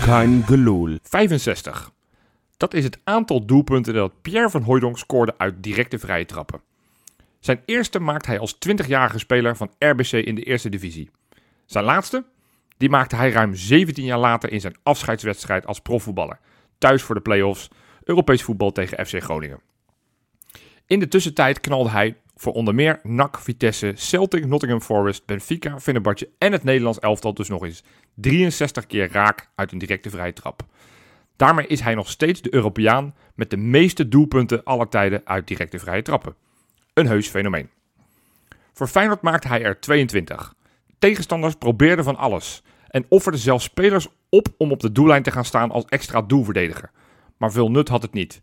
Kein Geloel. 65. Dat is het aantal doelpunten dat Pierre van Hooijdonk scoorde uit directe vrije trappen. Zijn eerste maakt hij als 20-jarige speler van RBC in de eerste divisie. Zijn laatste, die maakte hij ruim 17 jaar later in zijn afscheidswedstrijd als profvoetballer. Thuis voor de play-offs, Europees voetbal tegen FC Groningen. In de tussentijd knalde hij voor onder meer NAC, Vitesse, Celtic, Nottingham Forest, Benfica, Fenerbahce en het Nederlands elftal dus nog eens 63 keer raak uit een directe vrije trap. Daarmee is hij nog steeds de Europeaan met de meeste doelpunten aller tijden uit directe vrije trappen. Een heus fenomeen. Voor Feyenoord maakte hij er 22. Tegenstanders probeerden van alles en offerden zelfs spelers op om op de doellijn te gaan staan als extra doelverdediger. Maar veel nut had het niet.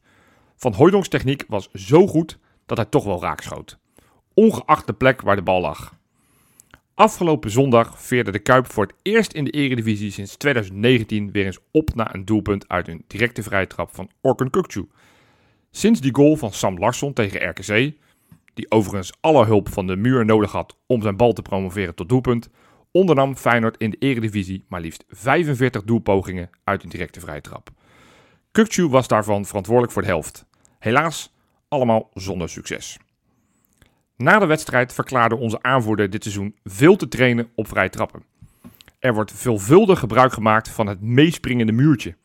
Van Hooijdonks techniek was zo goed dat hij toch wel raak schoot. Ongeacht de plek waar de bal lag. Afgelopen zondag veerde de Kuip voor het eerst in de Eredivisie sinds 2019 weer eens op na een doelpunt uit een directe vrije trap van Orkun Kukcu. Sinds die goal van Sam Larsson tegen RKC, die overigens alle hulp van de muur nodig had om zijn bal te promoveren tot doelpunt, ondernam Feyenoord in de Eredivisie maar liefst 45 doelpogingen uit een directe vrije trap. Kukcu was daarvan verantwoordelijk voor de helft. Helaas allemaal zonder succes. Na de wedstrijd verklaarde onze aanvoerder dit seizoen veel te trainen op vrij trappen. Er wordt veelvuldig gebruik gemaakt van het meespringende muurtje.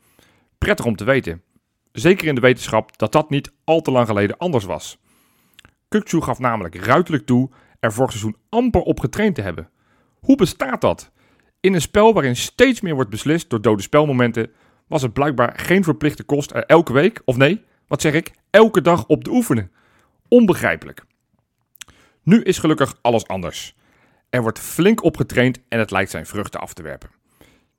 Prettig om te weten. Zeker in de wetenschap dat dat niet al te lang geleden anders was. Kukçu gaf namelijk ruiterlijk toe er vorig seizoen amper op getraind te hebben. Hoe bestaat dat? In een spel waarin steeds meer wordt beslist door dode spelmomenten, was het blijkbaar geen verplichte kost er elke week, of nee, wat zeg ik, elke dag op te oefenen. Onbegrijpelijk. Nu is gelukkig alles anders. Er wordt flink op getraind en het lijkt zijn vruchten af te werpen.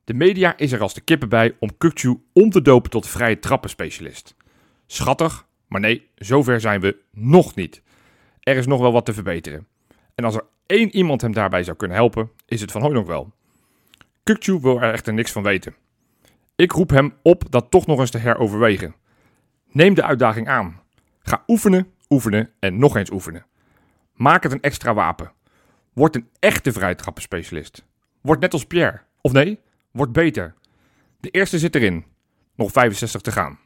De media is er als de kippen bij om Kukçu om te dopen tot vrije trappenspecialist. Schattig, maar nee, zover zijn we nog niet. Er is nog wel wat te verbeteren. En als er één iemand hem daarbij zou kunnen helpen, is het Van Hooydonk wel. Kukçu wil er echter niks van weten. Ik roep hem op dat toch nog eens te heroverwegen. Neem de uitdaging aan. Ga oefenen, oefenen en nog eens oefenen. Maak het een extra wapen. Word een echte vrijtrappenspecialist. Word net als Pierre. Of nee, word beter. De eerste zit erin. Nog 65 te gaan.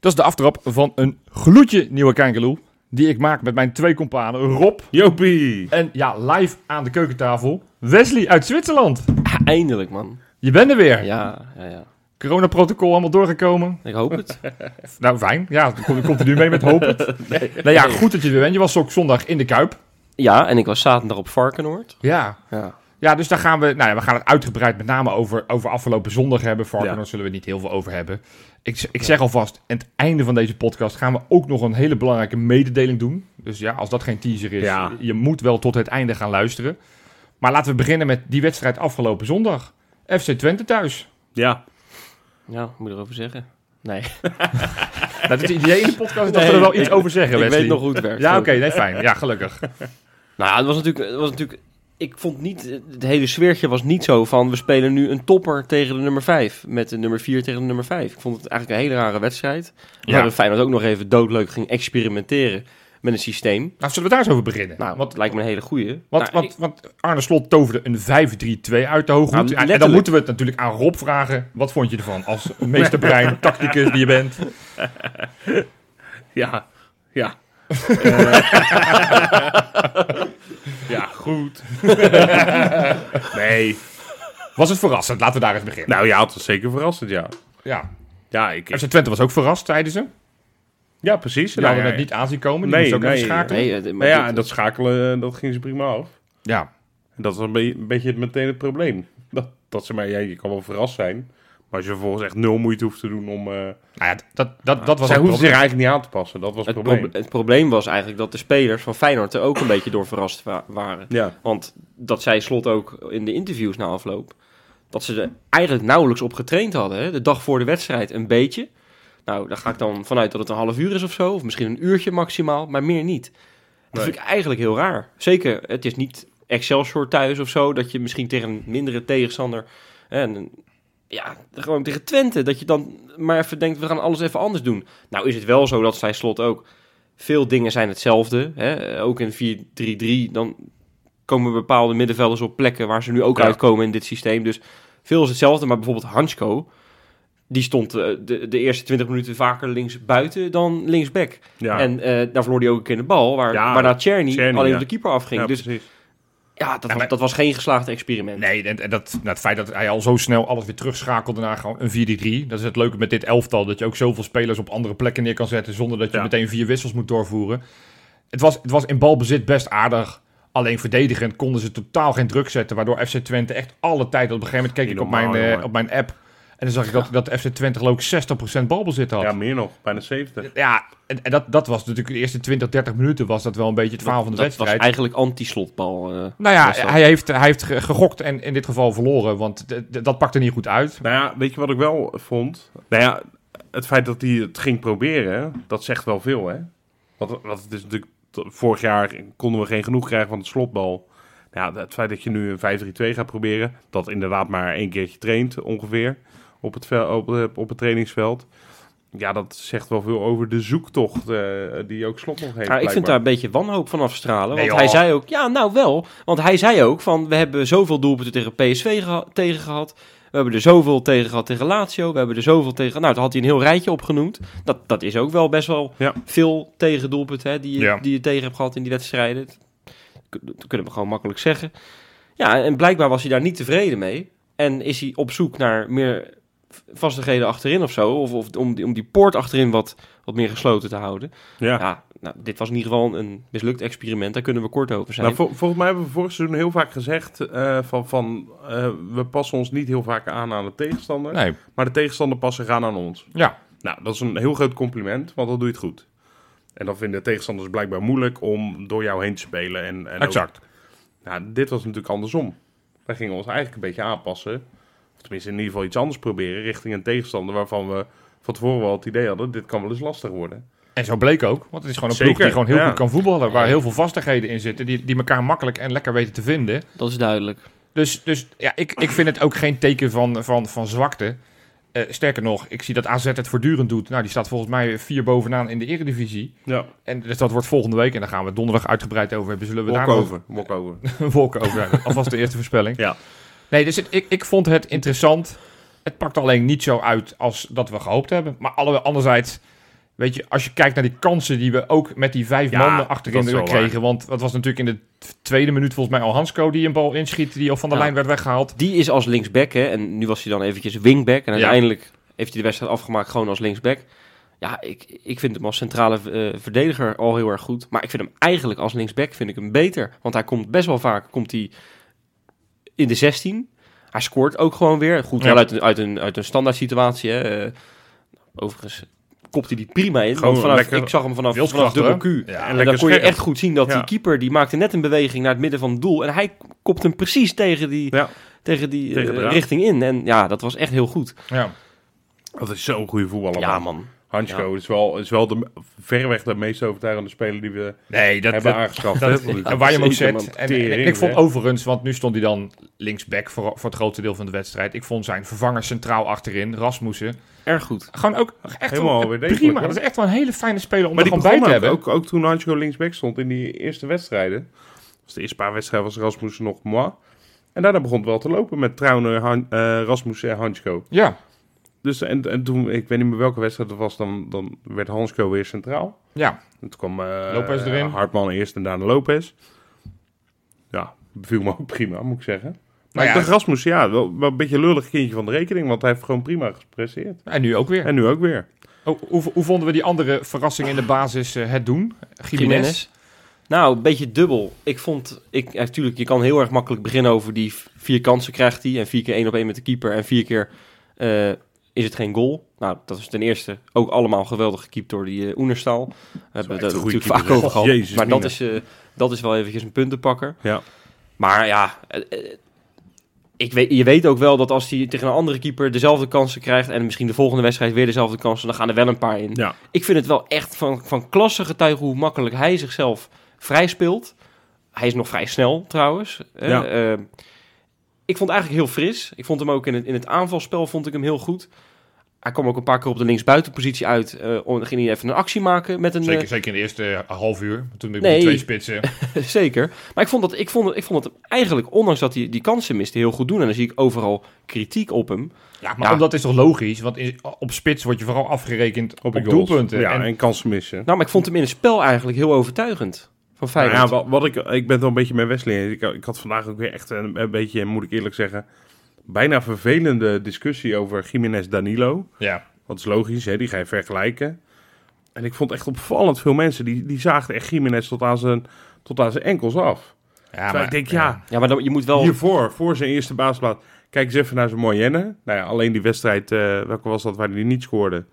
Dat is de aftrap van een gloedje nieuwe Kankerloe. Die ik maak met mijn twee companen Rob Jopie! en ja, live aan de keukentafel Wesley uit Zwitserland. Eindelijk, man. Je bent er weer. Ja, ja, ja. Coronaprotocol allemaal doorgekomen. Ik hoop het. Nou, fijn. Ja, dan kom- komt er nu mee met hoop. Nou ja, goed dat je er weer bent. Je was ook zondag in de Kuip. Ja, en ik was zaterdag op Varkenoord. Ja. Ja. Ja, dus daar gaan we, nou ja, we gaan het uitgebreid met name over, over afgelopen zondag hebben. Varkenoord Ja. zullen we niet heel veel over hebben. Ik, ik zeg alvast, aan het einde van deze podcast gaan we ook nog een hele belangrijke mededeling doen. Dus ja, als dat geen teaser is, Ja. je moet wel tot het einde gaan luisteren. Maar laten we beginnen met die wedstrijd afgelopen zondag. FC Twente thuis. Ja, Ja, wat moet ik erover zeggen? Nee, Nou, dat is het idee in de podcast dat Nee, we er wel iets ik- over zeggen, ik Wesley. weet nog hoe het werkt. Ja, oké, nee, fijn. Ja, gelukkig. Nou, ja, het was natuurlijk, het was natuurlijk... Ik vond niet... Het hele sfeertje was niet zo van... We spelen nu een topper tegen de nummer 5. Met de nummer 4 tegen de nummer 5. Ik vond het eigenlijk een hele rare wedstrijd. Ja. Maar de Feyenoord ook nog even doodleuk ging experimenteren met een systeem. Nou, zullen we daar eens over beginnen? Nou, want, wat lijkt me een hele goeie. want, Nou, want, ik- want Arne Slot toverde een 5-3-2 uit de hoogte. Nou, en dan letterlijk. moeten we het natuurlijk aan Rob vragen. Wat vond je ervan als meesterbrein, tacticus die je bent? ja, ja. Eh. ja, goed. nee. Was het verrassend? Laten we daar eens beginnen. Nou ja, het was zeker verrassend, ja. Ja. Ja, ik, FC Twente was ook verrast, zeiden ze. ja precies. Ze Ja, hadden ja, het niet aan zien komen. Die Nee, moesten ook nee, even schakelen. Nee, eh, maar Nou ja, dit- en dat schakelen, eh, dat ging ze prima af. Ja. En dat is een, be- een beetje het- meteen het probleem. Dat, dat ze maar, ja, je kan wel verrast zijn. Maar als je vervolgens echt nul moeite hoeft te doen om... eh Nou ja, dat, dat, dat was zij ook hoefde wel- zich eigenlijk niet aan te passen. Dat was het Het, probleem. proble- het probleem was eigenlijk dat de spelers van Feyenoord er ook een beetje door verrast wa- waren. Ja. Want dat zei Slot ook in de interviews na afloop. Dat ze er eigenlijk nauwelijks op getraind hadden. Hè? De dag voor de wedstrijd een beetje. Nou, daar ga ik dan vanuit dat het een half uur is of zo. Of misschien een uurtje maximaal, maar meer niet. Dat Nee. vind ik eigenlijk heel raar. Zeker, het is niet Excelsior thuis of zo. Dat je misschien tegen een mindere tegenstander... hè, En een- ja, gewoon tegen Twente. Dat je dan maar even denkt, we gaan alles even anders doen. Nou is het wel zo, dat zei Slot ook. Veel dingen zijn hetzelfde. Hè? Ook in 4-3-3, dan komen bepaalde middenvelders op plekken waar ze nu ook Ja. uitkomen in dit systeem. Dus veel is hetzelfde, maar bijvoorbeeld Hansko, die stond eh, de, de eerste 20 minuten vaker links buiten dan linksback. Ja. En eh, daar verloor hij ook een keer de bal, waar, Ja, waarna Czerny Czerny, alleen op ja. de keeper afging. Ja, dus precies. ja, dat, was, maar- dat was geen geslaagd experiment. Nee, en, en dat, nou, het feit dat hij al zo snel alles weer terugschakelde naar gewoon een 4-3-3. Dat is het leuke met dit elftal. Dat je ook zoveel spelers op andere plekken neer kan zetten. Zonder dat je Ja. meteen vier wissels moet doorvoeren. Het was, het was in balbezit best aardig. Alleen verdedigend konden ze totaal geen druk zetten. Waardoor FC Twente echt alle tijd. Op een gegeven moment keek Niet ik op normaal, mijn, eh, jongen. op mijn app. En dan zag ik dat, dat FC Twente geloof ik 60% balbezit had. Ja, Ja, meer nog. Bijna 70. en, en dat, dat was natuurlijk de eerste 20, 30 minuten. Was dat wel een beetje het verhaal van de dat wedstrijd. was eigenlijk anti-slotbal. eh. Nou was dat. ja, hij heeft, hij heeft ge- gegokt en in dit geval verloren. Want d- d- dat pakte niet goed uit. Nou ja, weet je wat ik wel vond? Nou ja, het feit dat hij het ging proberen, dat zegt wel veel, hè? Want, want het is natuurlijk... t- Vorig jaar konden we geen genoeg krijgen van het slotbal. Nou Ja, het feit dat je nu een 5-3-2 gaat proberen... dat inderdaad maar één keertje traint, ongeveer... op het, vel- op, eh, op het trainingsveld... Ja, dat zegt wel veel over de zoektocht eh, die ook slot nog heeft. Maar Ah, ik vind daar blijkbaar. een beetje wanhoop van afstralen. Nee, want hij joh. zei ook, ja, nou wel. Want hij zei ook van, we hebben zoveel doelpunten tegen PSV geha- tegen gehad. We hebben er zoveel tegen gehad tegen Lazio. We hebben er zoveel tegen... Nou, daar had hij een heel rijtje opgenoemd. Dat, dat is ook wel best wel Ja. veel tegen doelpunten hè, die, je, Ja. die je tegen hebt gehad in die wedstrijden. Dat, dat kunnen we gewoon makkelijk zeggen. Ja, en blijkbaar was hij daar niet tevreden mee. En is hij op zoek naar meer vastigheden achterin of zo. Of, of om, die, om die poort achterin wat, wat meer gesloten te houden. Ja. Ja, nou, dit was in ieder geval een mislukt experiment. Daar kunnen we kort over zijn. Nou, vol- volgens mij hebben we vorig seizoen heel vaak gezegd eh, van, van eh, we passen ons niet heel vaak aan aan de tegenstander, Nee, maar de tegenstander passen gaan aan ons. ja. Nou, dat is een heel groot compliment, want dan doe je het goed. En dan vinden de tegenstanders blijkbaar moeilijk om door jou heen te spelen. En, en ook- Exact. nou, dit was natuurlijk andersom. Wij gingen ons eigenlijk een beetje aanpassen, of tenminste in ieder geval iets anders proberen richting een tegenstander waarvan we van tevoren wel het idee hadden, dit kan wel eens lastig worden. En zo bleek ook. Want het is gewoon een Zeker, ploeg die gewoon heel ja. goed kan voetballen. Waar heel veel vastigheden in zitten. Die, die elkaar makkelijk en lekker weten te vinden. Dat is duidelijk. Dus, dus ja, ik, ik vind het ook geen teken van, van, van zwakte. Eh, sterker nog, ik zie dat AZ het voortdurend doet. Nou, die staat volgens mij vier bovenaan in de eredivisie. Ja, En dus dat wordt volgende week. En daar gaan we donderdag uitgebreid over hebben. Zullen we daar nog- walkover. walkover. een wolk over. Alvast de eerste voorspelling. Ja. Nee, dus het- ik, ik vond het interessant. Het pakt alleen niet zo uit als dat we gehoopt hebben. Maar alle, anderzijds, weet je, als je kijkt naar die kansen die we ook met die vijf Ja, mannen dat is achterin wel kregen. Want dat was natuurlijk in de tweede minuut volgens mij al Hansco die een bal inschiet die al van de Ja. lijn werd weggehaald. Die is als linksback, hè. En nu was hij dan eventjes wingback. En Ja. uiteindelijk heeft hij de wedstrijd afgemaakt gewoon als linksback. Ja, ik, ik vind hem als centrale eh, verdediger al heel erg goed. Maar ik vind hem eigenlijk als linksback vind ik hem beter. Want hij komt best wel vaak komt hij in de 16. Hij scoort ook gewoon weer. Goed, Ja. wel uit een, uit, een, uit een standaard situatie. Hè. Eh, overigens kopt hij die prima in. Gewoon Want vanaf, lekker ik zag hem vanaf, vanaf Wilskracht, dubbel Q. hoor. Ja, En dan kon je echt goed zien dat Ja. die keeper, die maakte net een beweging naar het midden van het doel. En hij kopt hem precies tegen die, Ja. tegen die Tegen de eh, raad. richting in. En ja, dat was echt heel goed. Ja. Dat is zo'n goede voetballer. Ja, man. Hansko is wel, is wel de, me- verreweg de meest overtuigende speler die we Nee, dat, hebben aangeschaft. Dat, hè, tot nu toe. en waar je hem ook Zeker, zet. man. En, Tering, en ik vond hè? overigens, want nu stond hij dan linksback voor, voor het grootste deel van de wedstrijd. Ik vond zijn vervanger centraal achterin, Rasmussen. Erg goed. Gewoon ook echt Helemaal wel, weer degelijk, prima. hoor. Dat is echt wel een hele fijne speler om maar er die gewoon begon bij te ook, hebben. ook, ook toen Hansko linksback stond in die eerste wedstrijden. Dus de eerste paar wedstrijden was Rasmussen nog moi. En daarna begon het wel te lopen met Trauner, Han, eh, Rasmussen en Hansko. Ja, Dus en, en toen, ik weet niet meer welke wedstrijd het was, dan, dan werd Hansko weer centraal. ja. En toen kwam eh, Lopez erin. Hartman eerst en daarna Lopez. Ja, beviel me ook prima, moet ik zeggen. Maar Nou ja, ik dacht Rasmussen, ja, wel, wel een beetje een lullig kindje van de rekening, want hij heeft gewoon prima gepresteerd. en nu ook weer. En nu ook weer. Oh, hoe, hoe vonden we die andere verrassing in de basis eh, het doen? Jiménez. Jiménez. Nou, een beetje dubbel. Ik vond, ik, eh, natuurlijk, je kan heel erg makkelijk beginnen over die v- vier kansen krijgt hij. En vier keer één op één met de keeper. En vier keer eh, is het geen goal. Nou, dat is ten eerste ook allemaal geweldig gekiept door die eh, Oenerstal. We hebben echt dat een goede natuurlijk keeper, vaak hè? over gehad. Jezus, maar dat mina. is, eh, dat is wel eventjes een puntenpakker. Ja. Maar ja, eh, eh, ik weet, je weet ook wel dat als hij tegen een andere keeper dezelfde kansen krijgt... en misschien de volgende wedstrijd weer dezelfde kansen, dan gaan er wel een paar in. Ja. Ik vind het wel echt van, van klasse getuigen hoe makkelijk hij zichzelf vrij speelt. Hij is nog vrij snel trouwens. hè. Ja. Eh, ik vond het eigenlijk heel fris. Ik vond hem ook in het, in het aanvalspel vond ik hem heel goed. Hij kwam ook een paar keer op de linksbuitenpositie uit. eh om- dan ging hij even een actie maken met een... eh, Zeker, zeker in de eerste eh, half uur. Toen ik Nee. die twee spitsen. eh, zeker. Maar ik vond, dat, ik, vond, het- ik vond het hem eigenlijk, ondanks dat hij die kansen miste, heel goed doen. En dan zie ik overal kritiek op hem. Ja, maar Ja. dat is toch logisch? Want in- op spits word je vooral afgerekend op, de goals. doelpunten. Ja, en, en, kansen missen. Nou, maar ik vond hem in het spel eigenlijk heel overtuigend. Van Nou Feyenoord. ja, wat, wat ik, ik ben wel een beetje met Wesley. Ik, ik had vandaag ook weer echt een, een beetje, moet ik eerlijk zeggen, bijna vervelende discussie over Jiménez Danilo. ja. Dat is logisch, hè? die ga je vergelijken. En ik vond echt opvallend veel mensen, die, die zaagden echt Jiménez tot aan zijn, tot aan zijn enkels af. ja Terwijl ik denk, ja, Ja, maar dan, je moet wel... hiervoor, voor zijn eerste baasplaat, kijk eens even naar zijn Moyenne. Nou ja, alleen die wedstrijd, eh, welke was dat, waar hij niet scoorde?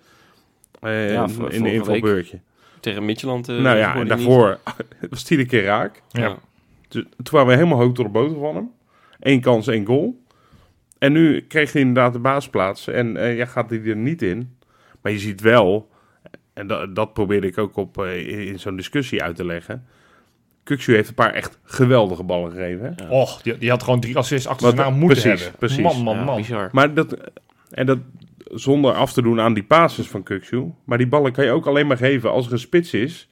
Eh, Ja, in in vor- de vorige week. invalbeurtje. Tegen Midtjylland. eh, nou ja, scoorde en hij niet. daarvoor was hij de keer raak. Ja. Dus Toen waren we helemaal hoog door de boter van hem. Eén kans, één goal. En nu kreeg hij inderdaad de baasplaats. En eh, ja, gaat hij er niet in. Maar je ziet wel, en da- dat probeerde ik ook op, eh, in- in zo'n discussie uit te leggen. Kuxu heeft een paar echt geweldige ballen gegeven. hè? Och, die, die had gewoon drie assists achter Wat- elkaar moeten precies, hebben. precies. Man, man, Ja, man. bizar. Maar dat, en dat zonder af te doen aan die passes van Kuxu. Maar die ballen kan je ook alleen maar geven als er een spits is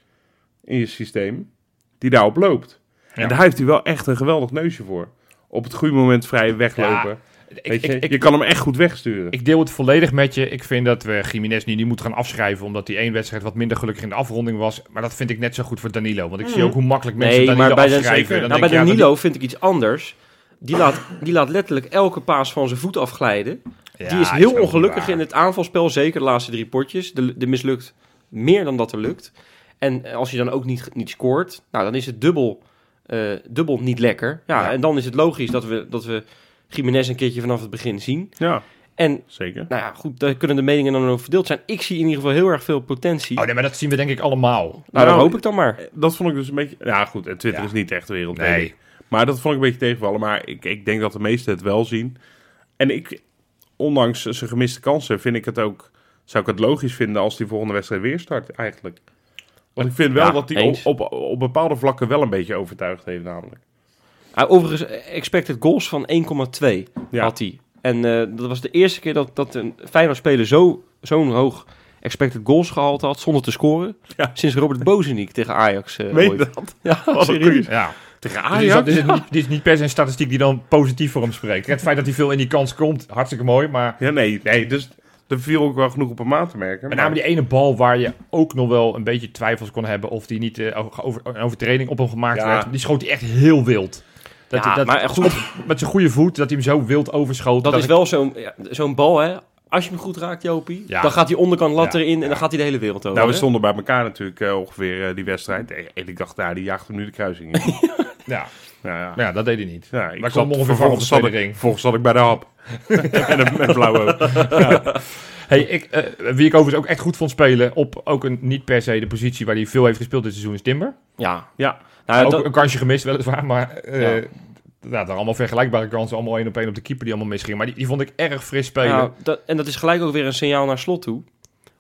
in je systeem die daarop loopt. Ja. En daar heeft hij wel echt een geweldig neusje voor. Op het goede moment vrij weglopen. Ik, Weet ik, je, ik, je kan hem echt goed wegsturen. ik deel het volledig met je. Ik vind dat we Jiménez nu niet moeten gaan afschrijven. Omdat die één wedstrijd wat minder gelukkig in de afronding was. Maar dat vind ik net zo goed voor Danilo. Want ik zie ook hoe makkelijk mensen Nee, Danilo maar bij, de, afschrijven. Dan nou, bij denk ik, ja, Danilo vind ik iets anders. Die laat, die laat letterlijk elke paas van zijn voet afglijden. dat- die Ja, is heel ook niet ongelukkig waar. in het aanvalspel. Zeker de laatste drie potjes. De, de mislukt meer dan dat er lukt. En eh, als je dan ook niet, niet scoort, nou, dan is het dubbel, eh, dubbel niet lekker. Ja, Ja. En dan is het logisch dat we, dat we Jiménez een keertje vanaf het begin zien. Ja, En zeker. nou ja, goed, daar kunnen de meningen dan over verdeeld zijn. Ik zie in ieder geval heel erg veel potentie. Oh nee, maar dat zien we denk ik allemaal. nou, dat Nou, hoop ik dan maar. Dat vond ik dus een beetje... Ja goed, en Twitter Ja. is niet echt de wereld. weet Nee. ik. Maar dat vond ik een beetje tegenvallen. Maar ik, ik denk dat de meesten het wel zien. En ik, ondanks zijn gemiste kansen, vind ik het ook... Zou ik het logisch vinden als die volgende wedstrijd weer start, eigenlijk. Want ik vind wel Ja, dat hij op, eens. op, op bepaalde vlakken wel een beetje overtuigd heeft, namelijk. Ah, overigens, eh, expected goals van 1,2 Ja. had hij. En eh, dat was de eerste keer dat, dat een Feyenoord-speler zo, zo'n hoog expected goals gehaald had zonder te scoren. Ja. Sinds Robert Bozeniek tegen Ajax eh Weet ooit. je dat? Ja, Wat een serieus. goeie. Ja. Tegen Ah, Dus is Ajax? dat- is het niet, dit is niet per se een statistiek die dan positief voor hem spreekt. Het feit dat hij veel in die kans komt, hartstikke mooi. Maar Ja, nee, nee. Dus er viel ook wel genoeg op hem aan te merken. met maar- name die ene bal waar je ook nog wel een beetje twijfels kon hebben... of die niet eh, over, een overtreding op hem gemaakt Ja. werd. Die schoot hij echt heel wild. Dat, Ja, dat, maar eh, goed, Met zijn goede voet, dat hij hem zo wild overschoot. dat is ik- wel zo'n, ja, zo'n bal, hè. Als je hem goed raakt, Jopie, Ja. dan gaat die onderkant lat Ja, erin en dan gaat hij de hele wereld over. Nou, we hè? stonden bij elkaar natuurlijk eh, ongeveer eh, die wedstrijd. En en ik dacht, nou, die jaagt hem nu de kruising in. Ja, nou, ja. maar ja, dat deed hij niet. Ja, ik zat, Maar kwam ongeveer vervolgens, voor zat de ik, ring. vervolgens zat ik bij de hap. en een, met blauw oog. Hey, ik, eh, wie ik overigens ook echt goed vond spelen... op ook een, niet per se de positie waar hij veel heeft gespeeld dit seizoen... is Timber. Ja. Ja. Nou, ook dat- een kansje gemist, weliswaar. Maar eh Ja. ja. dat waren allemaal vergelijkbare kansen. Allemaal één op één op de keeper die allemaal misgingen. Maar die, die vond ik erg fris spelen. Nou, dat, en dat is gelijk ook weer een signaal naar slot toe.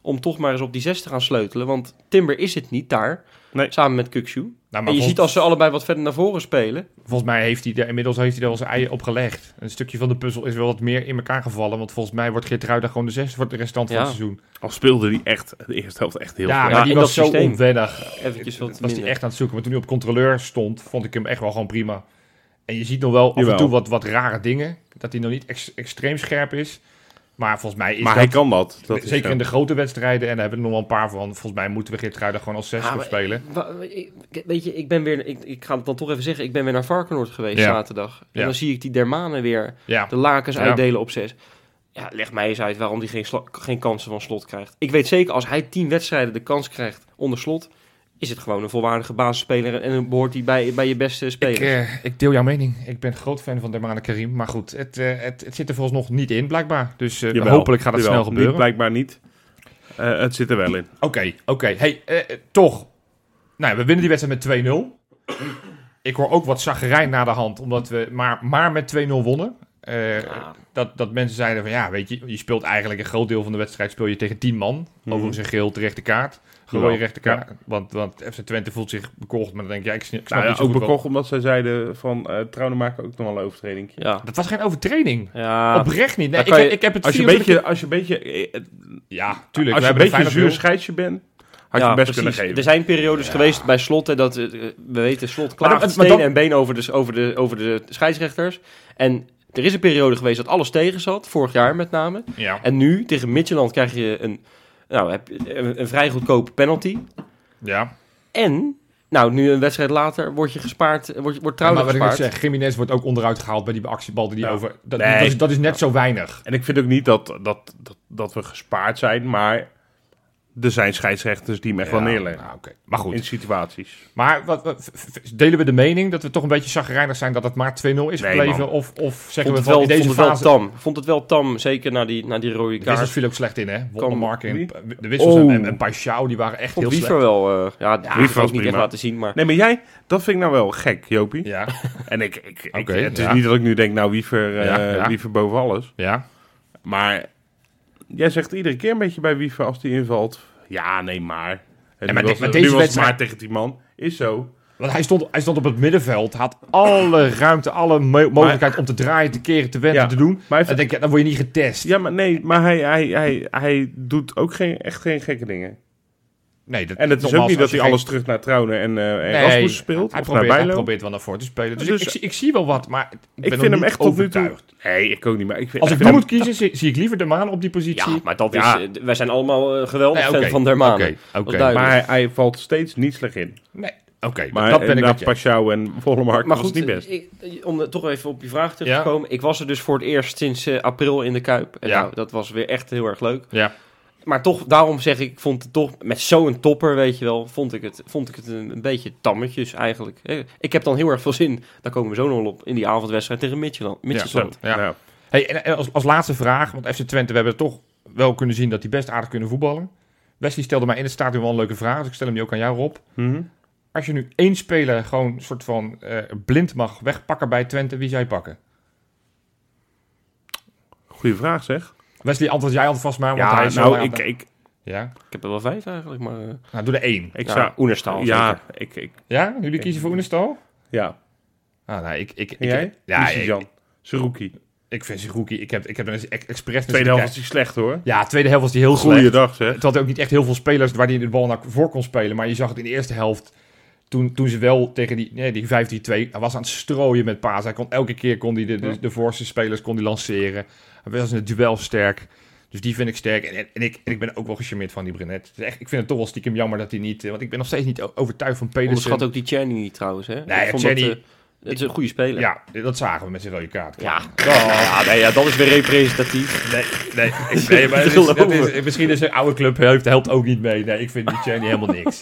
Om toch maar eens op die 6 te gaan sleutelen. Want Timber is het niet daar. Nee. Samen met Kukshu. Nou, maar En je volgens, ziet als ze allebei wat verder naar voren spelen. volgens mij heeft hij daar inmiddels heeft hij daar wel zijn eieren op gelegd. Een stukje van de puzzel is wel wat meer in elkaar gevallen. Want volgens mij wordt Geertruida gewoon de zesde voor de restant van Ja. het seizoen. Al speelde die echt de eerste helft echt heel Ja, ja, maar Ja, die in was dat zo systeem. onwennig. Eventjes wat was hij minder. echt aan het zoeken. Maar toen hij op controleur stond, vond ik hem echt wel gewoon prima. En je ziet nog wel af Jawel. en toe wat, wat rare dingen. Dat hij nog niet ex- extreem scherp is. Maar volgens mij is Maar dat... hij kan dat. dat is Zeker zo. in de grote wedstrijden. En daar hebben we er nog wel een paar van. Volgens mij moeten we Geertruida gewoon als zes Ja, voor maar- spelen. Wa- ik- ik- Weet je, ik ben weer. Ik, ik ga het dan toch even zeggen. Ik ben weer naar Varkenoord geweest Ja. zaterdag. En Ja. dan zie ik die Dermanen weer Ja. de lakens Ja. uitdelen op 6. Ja, leg mij eens uit waarom die geen, sla- geen kansen van slot krijgt. Ik weet zeker, als hij 10 wedstrijden de kans krijgt onder slot. is het gewoon een volwaardige basisspeler en dan behoort hij bij, bij je beste Ik, speler. eh, ik deel jouw mening. Ik ben groot fan van Dermane Karim. Maar goed, het, eh, het, het zit er vooralsnog niet in, blijkbaar. Dus eh, Jawel, hopelijk gaat het jawel. snel gebeuren. Niet, blijkbaar niet. Eh, het zit er wel in. Oké, oké. Hey, eh, eh, toch. Nou, ja, we winnen die wedstrijd met 2-0. Ik hoor ook wat zagerijn na de hand, omdat we maar, maar met 2-0 wonnen. Eh, Ja. dat, dat mensen zeiden van ja, weet je, je speelt eigenlijk een groot deel van de wedstrijd speel je tegen 10 man. Overigens een geel terechte kaart. Gewoon je Mhm. Jawel. rechte kaart. Want, want FC Twente voelt zich bekocht, maar dan denk je, ja, ik sn- ik snap Nou, niet ja, zo ook goed wat- bekocht omdat zij zeiden van eh trouwen maken ook nog wel een overtreding. Ja. Dat was geen overtreding. ja. Oprecht niet. Nee, Dan ik, kan heb- je- ik heb het Als je een 24 beetje, als je een beetje, eh, eh, Ja, tuurlijk. als we je een hebben beetje een een zuur zuur scheidsje bent, had je Ja, het best precies. kunnen geven. Er zijn periodes geweest bij Slot, hè, dat, eh, we weten, Slot Maar klaagt dan- maar stenen dan- en been over de, over, de, over de scheidsrechters. En er is een periode geweest dat alles tegen zat, vorig jaar met name. Ja, En nu, tegen Midtjylland, krijg je een, nou, heb je een, een vrij goedkope penalty. ja. En, nou, nu een wedstrijd later word je gespaard, wordt wordt Maar trouwens wat ik net gespaard. zeg, Jiménez wordt ook onderuit gehaald bij die actiebal die Ja. over... Dat, Nee. dat, is, dat is net zo weinig. En ik vind ook niet dat, dat, dat, dat we gespaard zijn, maar er zijn scheidsrechters die hem echt wel Ja, neerleggen. nou, oké. Maar goed. In situaties. Maar wat, wat- v- v- delen we de mening dat we toch een beetje zagrijnig zijn dat het maar 2-0 is Nee, gebleven? man. of, of zeggen Vond we het, van wel, in deze vond het wel fase... tam. Vond het wel tam, zeker na die, na die rode De wissels kaart. viel ook slecht in, hè? Wollemark en Wie? de wissels en- Oh. en, en Paixão, die waren echt Vond heel slecht. Wiever wel, eh, ja, die Wiever heeft ook was niet echt prima. laten zien, maar... Nee, maar jij, dat vind ik nou wel gek, Jopie. Ja, En ik, ik, ik- Oké, het is eh, ja. niet dat ik nu denk, nou, Wiever, eh, Ja, ja. Wiever boven alles. ja. Maar jij zegt iedere keer een beetje bij Wiever als die invalt. Ja, nee, maar. En maar nu dit- was- maar nu deze was het wedstrijd- maar tegen die man. Is zo. Want hij stond, hij stond op het middenveld, had alle ruimte, alle mo- mogelijkheid om te draaien, te keren, te wenden, Ja, te doen. Maar hij, Dan denk je, dan word je niet getest. ja, maar nee, maar hij, hij, hij, hij doet ook geen, echt geen gekke dingen. Nee, dat, En het is nogmaals, ook niet dat als je hij geen- alles terug naar Trouwen en, eh en Nee, Rasmus speelt. Hij of probeert, naar hij Bijlo. probeert wel naar voren te spelen. Dus, Dus- ik, ik, ik zie wel wat, maar ik, ben Ik nog vind hem niet echt tot nu toe... overtuigd. Nee, ik ook niet. Maar ik vind, Als ik ik nu vind moet kiezen, zie, zie ik liever de maan op die positie. Ja, maar dat Ja. is... eh, Wij zijn allemaal eh, geweldig Nee, fan oké. van Dermane. Oké, oké. duidelijk. hem- maar hij, hij valt steeds niet slecht in. Nee, oké, Maar dat ben ik met inderdaad, je. eh, Paschou en Vollemark Maar was goed, niet best. ik- ik- om er toch even op je vraag terug te komen. Ik was er dus voor het eerst sinds eh, april in de Kuip. En Ja. nou, dat was weer echt heel erg leuk. Ja. Maar toch, daarom zeg ik, ik vond het toch met zo'n topper, weet je wel, vond ik het, vond ik het een, een beetje tammetjes eigenlijk. Eh, Ik heb dan heel erg veel zin, daar komen we zo nog wel op, in die avondwedstrijd tegen Midtjylland. Zo, Midtjylland. Ja. nou. Hey, en en als, als laatste vraag, want FC Twente, we hebben toch wel kunnen zien dat die best aardig kunnen voetballen. Wesley stelde mij in het stadion wel een leuke vraag, dus ik stel hem nu ook aan jou, Rob. Mhm. Als je nu één speler gewoon een soort van eh, blind mag wegpakken bij Twente, wie zou je pakken? Goeie vraag zeg. Wesley, antwoord jij alvast maar, want hij Ja, is zo nou, laat- ik, ik, Ja? Ik heb er wel vijf eigenlijk, maar... eh, Nou, doe er één. ik ja, zou... Oenerstal. Ja, zeker. ik, ik, Ja? Jullie kiezen voor Oenestal? ja. Ah, nou, ik... ik, ik En jij? Ja, Is ik, Jan. Zerouki. ik vind ze rookie. Ik heb, ik heb er eens ex- expres... naar Tweede zitten helft is hij slecht hoor. kijken. Ja, tweede helft was die heel slecht. Goeiedag zeg. Het had ook niet echt heel veel spelers waar hij de bal naar voor kon spelen. Maar je zag het in de eerste helft. Toen, toen ze wel tegen die, nee, die 5-3-2... Hij was aan het strooien met Paas. Hij kon, elke keer kon hij de, de, de voorste spelers kon hij lanceren. Hij was in het duel sterk. Dus die vind ik sterk. En, en, en ik, en ik ben ook wel gecharmeerd van die Brenet. Het is echt, ik vind het toch wel stiekem jammer dat hij niet... eh, Want ik ben nog steeds niet o- overtuigd van Pedersen. Onderschat ook die Tjerni niet trouwens, hè? Nee, Ik vond Tjerni- dat, eh, het is een goede speler. Ja, dat zagen we met zijn rode kaart. Ja. Ja, nee, ja, dat is weer representatief. Nee, nee, ik- nee maar Te dat is, dat geloven. is, misschien is een oude club helpt, helpt ook niet mee. Nee, ik vind die Cheney helemaal niks.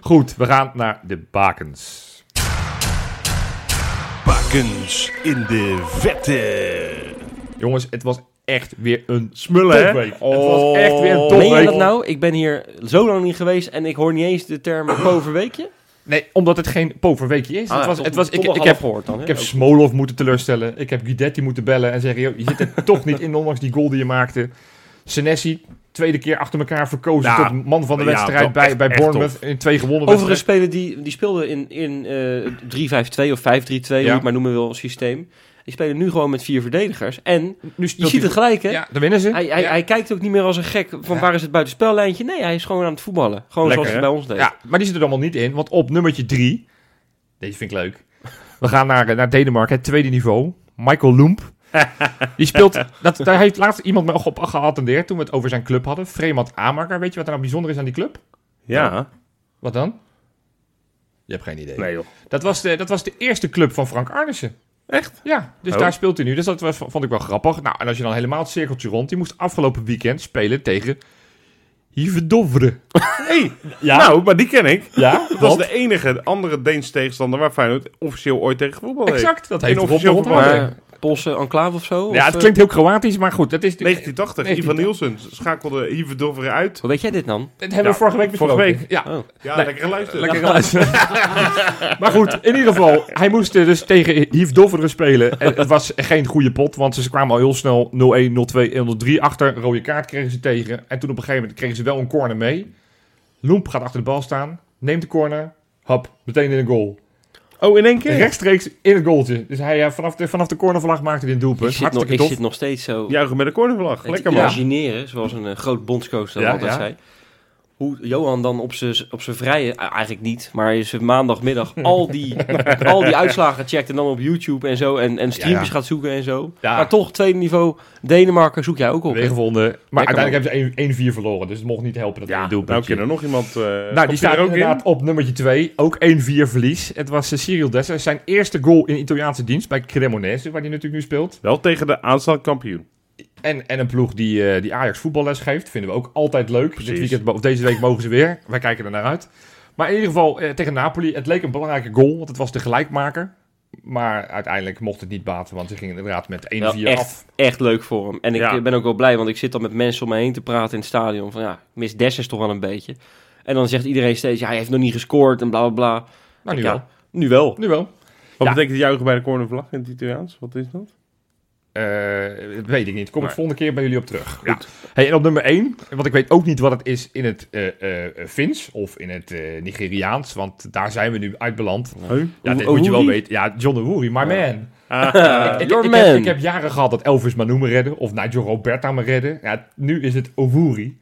Goed, we gaan naar de bakens. Bakens in de vette. Jongens, het was echt weer een Smullen hè? Topweek. Het was echt weer Oh. een Meen je topweek. dat nou? Ik ben hier zo lang niet geweest en ik hoor niet eens de term poverweekje. Nee, omdat het geen poverweekje is. Ah, het was, het was, ik, ik, heb, gehoord dan. ik heb Smolov moeten teleurstellen. Ik heb Guidetti moeten bellen en zeggen... joh, je zit er toch niet in, ondanks die goal die je maakte. Senesi, tweede keer achter elkaar verkozen Nou, Ja, tot man van de ja, wedstrijd toch, bij, echt- bij echt Bournemouth. In twee gewonnen Overigens spelen die, die speelden in, in eh 3-5-2 of 5-3-2, hoe je Ja. het maar noemen wil, systeem. Die spelen nu gewoon met vier verdedigers. En wedstrijd. Nu je speelt ziet hij- het gelijk, hè? Ja, dan winnen ze. Hij, hij, Ja. hij kijkt ook niet meer als een gek van Ja. waar is het buitenspellijntje. Nee, hij is gewoon aan het voetballen. Gewoon Lekker, zoals hij hè? bij ons deed. Ja, maar die zit er allemaal niet in. Want op nummertje drie... Deze vind ik leuk. We gaan naar, eh, naar Denemarken, het tweede niveau. Michael Loemp. Die speelt... Dat, daar heeft laatst iemand me op geattendeerd toen we het over zijn club hadden. Fremad Amaker. Weet je wat er nou bijzonder is aan die club? Ja. Wat dan? Je hebt geen idee. Nee joh. Dat, was de, dat was de eerste club van Frank Arnissen. Echt? Ja, dus Oh. daar speelt hij nu. Dus dat was, vond ik wel grappig. Nou, en als je dan helemaal het cirkeltje rond... Die moest afgelopen weekend spelen tegen... Hivendovre. Hey, Ja? Nou, maar die ken ik. Ja, Dat is want- de enige andere Deens tegenstander waar Feyenoord officieel ooit tegen voetbal heeft. Exact, dat heeft In Rob nog officieel onthouden. verband. Maar Poolse enclave of zo? Ja, Of, het eh, klinkt heel Kroatisch, maar goed. Dat is natuurlijk... 1980, Ivan Nielsen schakelde Hivendorfer uit. Hoe weet jij dit dan? Dat hebben we Ja, vorige week besproken. vorige week. Ja, Oh. Ja, Nee. lekker luisteren. lekker luisteren. maar goed, in ieder geval, hij moest eh, dus tegen Yves Dofferen spelen. En het was geen goede pot, want ze kwamen al heel snel 0-1, 0-2, 0-3 achter. Rode kaart kregen ze tegen. En toen op een gegeven moment kregen ze wel een corner mee. Loemp gaat achter de bal staan, neemt de corner, hap, meteen in een goal. Oh, in één keer? Rechtstreeks in het goaltje. Dus hij, eh, vanaf, de, vanaf de cornervlag maakte hij een Ik, doelpunt. zit nog, Hartstikke ik tof. zit nog steeds zo Juichen met de cornervlag. het Lekker man. imagineren, zoals een eh, groot bondscoach dat Ja, altijd ja. zei. Hoe Johan dan op zijn op zijn vrije, ah, eigenlijk niet, maar is maandagmiddag al die, al die uitslagen checkt en dan op YouTube en zo en, en streampjes Ja. gaat zoeken en zo. Ja. Maar toch, tweede niveau, Denemarken zoek jij ook op. Weer gevonden. Maar Lekker, uiteindelijk hebben ze 1-4 verloren, dus het mocht niet helpen dat hij Ja, een nou doelpuntje kan er nog iemand. eh, Nou, komt die hij staat er ook inderdaad op nummertje 2. Ook 1-4 verlies. Het was eh, Cyril Dessers. Zijn eerste goal in Italiaanse dienst bij Cremonese, waar hij natuurlijk nu speelt. in? Wel tegen de aanstaande kampioen. En, en een ploeg die, eh, die Ajax voetballes geeft. Vinden we ook altijd leuk. Dit Precies. weekend, of deze week mogen ze weer. Wij kijken er naar uit. Maar in ieder geval eh, tegen Napoli. Het leek een belangrijke goal, want het was de gelijkmaker. Maar uiteindelijk mocht het niet baten, want ze gingen inderdaad met 1-4 Wel af. echt, echt leuk voor hem. En ik Ja. eh, ben ook wel blij, want ik zit dan met mensen om me heen te praten in het stadion. Van ja, ik mis Dessers toch wel een beetje. En dan zegt iedereen steeds, ja, hij heeft nog niet gescoord en bla bla bla. Nou, nu ja, wel. Nu wel. Nu wel. Wat Ja. betekent juichen bij de cornervlag in het Italiaans? Wat is dat? Eh, dat weet ik niet. Kom ik Maar- volgende keer bij jullie op terug. Ja. Hey, en op nummer 1, want ik weet ook niet wat het is in het eh, eh, Fins of in het eh, Nigeriaans, want daar zijn we nu uitbeland. Heu? Ja, dit Owoeri? moet je wel weten. Ja, John de Woerie, my man. Ah, Eh, Ik, Eh, your ik, man. Heb, ik heb jaren gehad dat Elvis Manu me redde of Nigel Roberta me redde. Ja, nu is het Owoeri.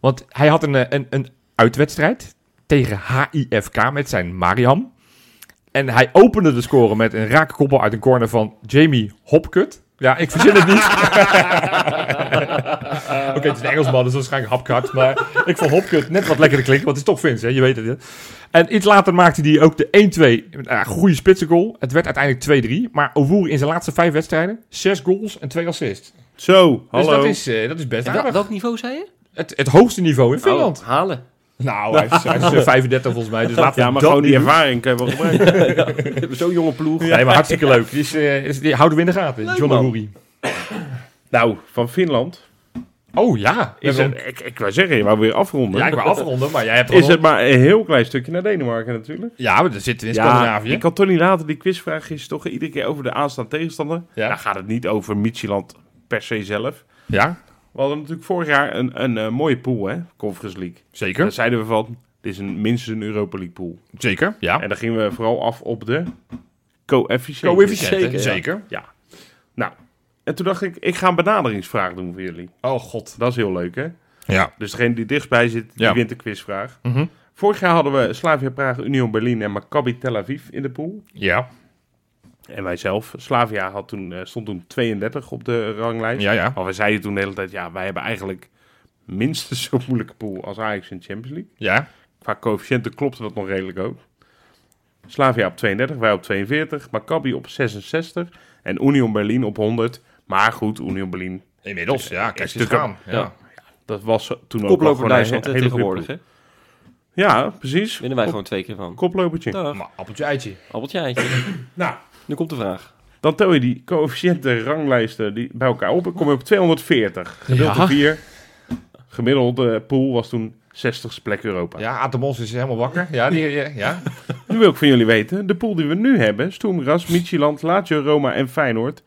Want hij had een, eh, een, een uitwedstrijd tegen HIFK met zijn Mariam. En hij opende de score met een raak koppel uit een corner van Jamie Hopkut. Ja, ik verzin het niet. Oké, het is een Engelsman, dus waarschijnlijk hapkart. Maar ik vond Hopkut net wat lekkerder klinken, want het is toch Vins, hè? Je weet het. Hè? En iets later maakte hij ook de 1-2. Nou, goede spitsengoal. Het werd uiteindelijk 2-3. Maar Owoer in zijn laatste vijf wedstrijden, zes goals en twee assists. Zo, hallo. Dus dat is, eh, dat is best Wel- aardig. welk niveau zei je? Het, het hoogste niveau in Finland. Oh, halen. Nou, hij is, hij is, eh, 35 volgens mij, dus laten we ja, maar dat gewoon die niet doen. ervaring kan je wel gebruiken. Zo'n jonge ploeg. Nee, maar hartstikke leuk. Dus, eh, is- die houden we in de gaten. John man. Owoeri. nou, van Finland. Oh ja. Is Is het, ik, ik wou zeggen, je wou weer afronden. ja, ik wil afronden, maar jij hebt is gewoon- het maar een heel klein stukje naar Denemarken natuurlijk. Ja, maar dan zitten we in Scandinavië. ik kan toch niet laten. Die quizvraag is toch iedere keer over de aanstaande tegenstander. Ja. Dan gaat het niet over Micheland per se zelf. Ja, We hadden natuurlijk vorig jaar een, een eh, mooie pool, hè? Conference League. zeker. Daar zeiden we van, dit is een, minstens een Europa League pool. Zeker, ja. En dan gingen we vooral af op de coëfficiënt. Coëfficiënten, Zeker, zeker. ja. Ja. Nou, en toen dacht ik, ik ga een benaderingsvraag doen voor jullie. Oh god. Dat is heel leuk, hè? Ja. Dus degene die dichtstbij zit, die Ja. wint de quizvraag. Mhm. Vorig jaar hadden we Slavia Praag, Union Berlin en Maccabi Tel Aviv in de pool. Ja, En wij zelf. Slavia had toen, eh, stond toen 32 op de ranglijst. ja, ja. Maar we zeiden toen de hele tijd, ja, wij hebben eigenlijk minstens zo'n moeilijke pool als Ajax in de Champions League. Ja, Qua coëfficiënten klopte dat nog redelijk ook. Slavia op 32, wij op 42, Maccabi op 66 en Union Berlin op 100. Maar goed, Union Berlin, inmiddels. Ja, kijk Is eens het ook- gaan. Ja. Ja. dat was toen ook wel Koploper gewoon een Duitsland hè, hele goede tegenwoordig. ploeg. Hè? Ja, precies. Winnen wij Kop- gewoon twee keer van. Koplopertje. Dag, Maar appeltje eitje. appeltje eitje. Nou, Nu komt de vraag. dan tel je die coëfficiënten ranglijsten die bij elkaar op en kom je op 240. Gedeeld Ja. door 4. Gemiddelde pool was toen 60ste plek Europa. Ja, Atomos is helemaal wakker. Ja, die, ja, ja. Nu wil ik van jullie weten, de pool die we nu hebben, Stoemgras, Michieland, Lazio, Roma en Feyenoord.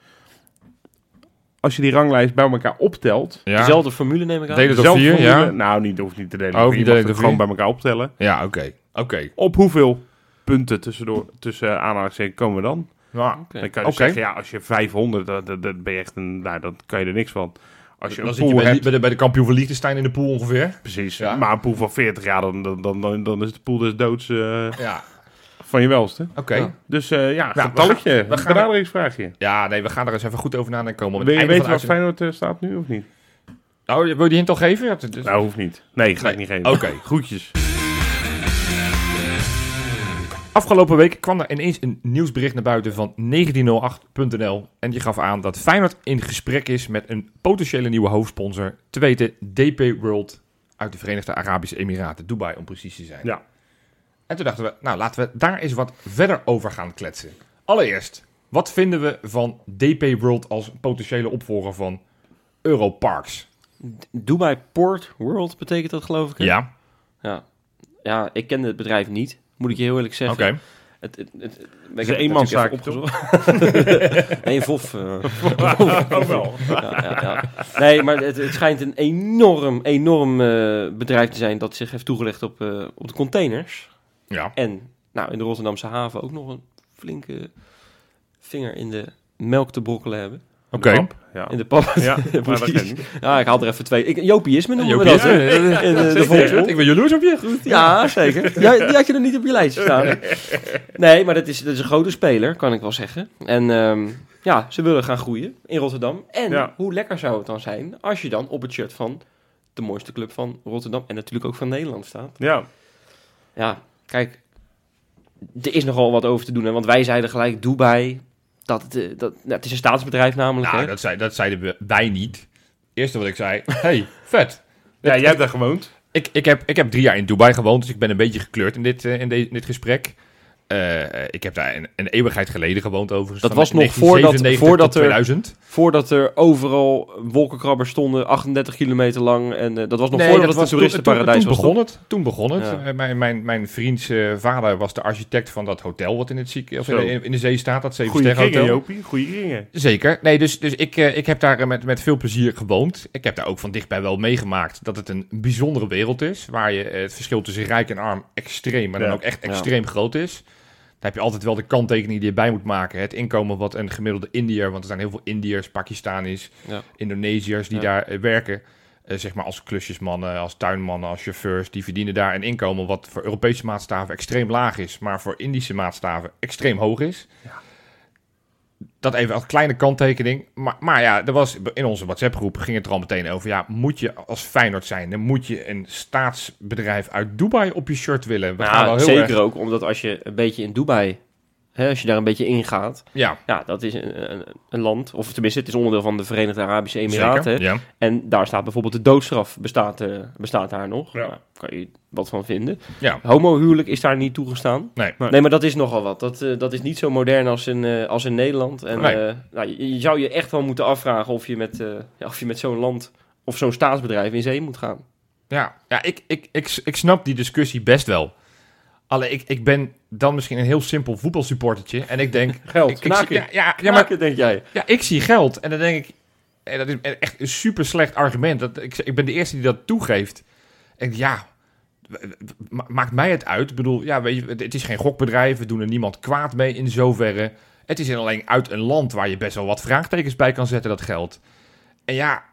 Als je die ranglijst bij elkaar optelt, ja. Dezelfde formule neem ik aan. Delen door zelf vier, formule- ja. nou niet, hoeft niet te delen, Oh, door niet vier, je mag het delen door gewoon bij vier. elkaar optellen. Ja, oké. Oké. Op hoeveel punten tussendoor, tussen eh, aanhalingstekens komen we dan? Nou, Oké. Dan kan je Oké. zeggen, ja, als je 500, dat, dat, dat ben je echt een, nou, dan kan je er niks van. Als je dan een zit pool je bij, hebt, bij, de, bij de kampioen van Liechtenstein in de pool ongeveer. precies, Ja. maar een pool van 40, ja, dan, dan, dan, dan, dan is de pool des doods eh, Ja, van je welste. oké. Ja. Dus eh ja, we getalletje, gaan- we gaan- benaderingsvraagje. Ja, nee, we gaan er eens even goed over na en komen. op het Wil je einde weten van waar de uitzending. Feyenoord eh, staat nu of niet? Oh, wil je die hint al geven? Ja, dat is- Nou, hoeft niet. Nee, ga ik niet Nee. geven. Oké. groetjes. Afgelopen week kwam er ineens een nieuwsbericht naar buiten van 1908.nl. En die gaf aan dat Feyenoord in gesprek is met een potentiële nieuwe hoofdsponsor. Te weten DP World uit de Verenigde Arabische Emiraten, Dubai om precies te zijn. Ja. En toen dachten we, nou laten we daar eens wat verder over gaan kletsen. Allereerst, wat vinden we van DP World als potentiële opvolger van Europarks? Dubai Port World betekent dat, geloof ik. hè? Ja, Ja, Ja, ik kende het bedrijf niet, moet ik je heel eerlijk oké. zeggen. Het, het, het, ik heb het eenmanszaak, natuurlijk even opgezocht. nee, een vof. eh. Oh, Ja, ja, ja. Nee, maar het, het schijnt een enorm, enorm eh, bedrijf te zijn dat zich heeft toegelegd op, eh, op de containers. Ja. En nou, in de Rotterdamse haven ook nog een flinke vinger in de melk te brokkelen hebben. Oké. De pap, Ja. In de pap. Ja, maar dat Precies. ken ik. Ja, ik haal er even twee. Ik, Jopieisme noemen we Jopie- dat. hè? Ja, ja, ja. In eh, de, de Zeker. volksmond. Ik ben jaloers op je. Ja, zeker. Ja, die had je er niet op je lijstje staan. Nee, maar dat is, dat is een grote speler, kan ik wel zeggen. En ehm, ja, ze willen gaan groeien in Rotterdam. En Ja. hoe lekker zou het dan zijn als je dan op het shirt van de mooiste club van Rotterdam en natuurlijk ook van Nederland staat. Ja. Ja, kijk, er is nogal wat over te doen. Hè, want wij zeiden gelijk Dubai, dat, het, eh, dat, nou, het is een staatsbedrijf namelijk. Nou, hè. dat, zei, dat zeiden we, wij niet. Eerste wat ik zei, hey, vet. ja, jij hebt daar gewoond. Ik, ik, heb, ik heb drie jaar in Dubai gewoond, dus ik ben een beetje gekleurd in dit, eh, in de- in dit gesprek. Eh, ik heb daar een, een eeuwigheid geleden gewoond overigens. Dat van was nog 1997 tot voordat- voordat er- 2000. Voordat er overal wolkenkrabbers stonden, 38 kilometer lang. En eh, dat was nog Nee, voordat dat het een was toen- toeristenparadijs toen, was. toen toch? begon het. Toen begon het. Ja. Eh, Mijn, mijn, mijn vriends eh, vader was de architect van dat hotel wat in, het zieke, of in, Zo. de, in de zee staat, dat Goeie Zevensterren ringen, Hotel. Jopie. Goeie ringen. Zeker. Nee, dus, dus ik, eh, ik heb daar eh, met, met veel plezier gewoond. Ik heb daar ook van dichtbij wel meegemaakt dat het een bijzondere wereld is. Waar je eh, het verschil tussen rijk en arm extreem, maar dan Ja. ook echt Ja. extreem groot is. Daar heb je altijd wel de kanttekening die je bij moet maken. Het inkomen wat een gemiddelde Indiër, want er zijn heel veel Indiërs, Pakistanis, Ja. Indonesiërs die Ja. daar eh, werken. eh, zeg maar als klusjesmannen, als tuinmannen, als chauffeurs. Die verdienen daar een inkomen wat voor Europese maatstaven extreem laag is. Maar voor Indische maatstaven extreem hoog is. Dat even als kleine kanttekening. Maar, maar ja, er was, in onze WhatsApp groep ging het er al meteen over. Ja, moet je als Feyenoord zijn? Dan moet je een staatsbedrijf uit Dubai op je shirt willen. We Nou, gaan wel heel zeker erg- ook omdat als je een beetje in Dubai, hè, als je daar een beetje ingaat, Ja, ja, dat is een, een, een land, of tenminste, het is onderdeel van de Verenigde Arabische Emiraten. zeker. hè. Ja. En daar staat bijvoorbeeld de doodstraf, bestaat, eh, bestaat daar nog. Ja. Nou, kan je wat van vinden. Ja. Homohuwelijk is daar niet toegestaan. Nee. Nee. Nee, maar dat is nogal wat. Dat, eh, dat is niet zo modern als in, eh, als in Nederland. En Nee. eh, nou, je, je zou je echt wel moeten afvragen of je met, eh, ja, of je met zo'n land of zo'n staatsbedrijf in zee moet gaan. Ja, ja ik, ik, ik, ik snap die discussie best wel. Alleen ik, ik ben dan misschien een heel simpel voetbalsupportertje. En ik denk. Geld, ik, ik knaken. zie- ja, ja, ja, Ja, maar Ah, maar denk jij. ja, ik zie geld. En dan denk ik. En dat is echt een super slecht argument. Dat, ik, ik ben de eerste die dat toegeeft. En ja, ma- maakt mij het uit? Ik bedoel, ja, weet je, het- het is geen gokbedrijf. We doen er niemand kwaad mee in zoverre. Het is alleen uit een land waar je best wel wat vraagtekens bij kan zetten, dat geld. En ja,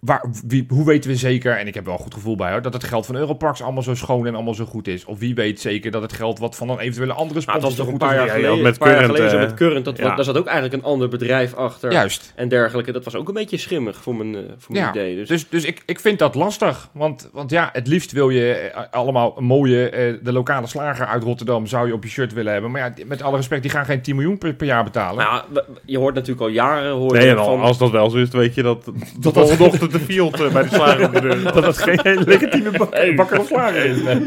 waar, wie, hoe weten we zeker, en ik heb wel een goed gevoel bij hoor, dat het geld van Europarks allemaal zo schoon en allemaal zo goed is? Of wie weet zeker dat het geld wat van een eventuele andere Maar sponsor het was zo Nou, toch een goed paar is? jaar Ja, geleden. ja, met een paar jaar Current, geleden zo eh, met Current. Dat, ja. Daar zat ook eigenlijk een ander bedrijf achter. Juist. En dergelijke. Dat was ook een beetje schimmig voor mijn, eh, voor mijn Ja, idee. Dus, Dus, dus ik, ik vind dat lastig. Want, want ja, het liefst wil je eh, allemaal een mooie... eh, de lokale slager uit Rotterdam zou je op je shirt willen hebben. Maar ja, die- met alle respect, die gaan geen 10 miljoen per, per jaar betalen. nou, ja, we- je hoort natuurlijk al jaren hoor je Nee, en al- van... als dat wel zo is, dan weet je dat... Dat volgende ochtend de field eh, bij de slager op de deur. Dat dat geen hele legitieme Hey, bakker of slager is. Nee.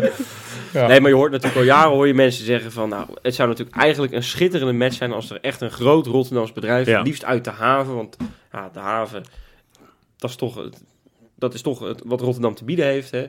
Nee, maar je hoort natuurlijk al jaren hoor je mensen zeggen van... Nou, het zou natuurlijk eigenlijk een schitterende match zijn... als er echt een groot Rotterdams bedrijf... Ja. liefst uit de haven. Want ja, de haven, dat is toch, het- dat is toch het, wat Rotterdam te bieden heeft. Hè?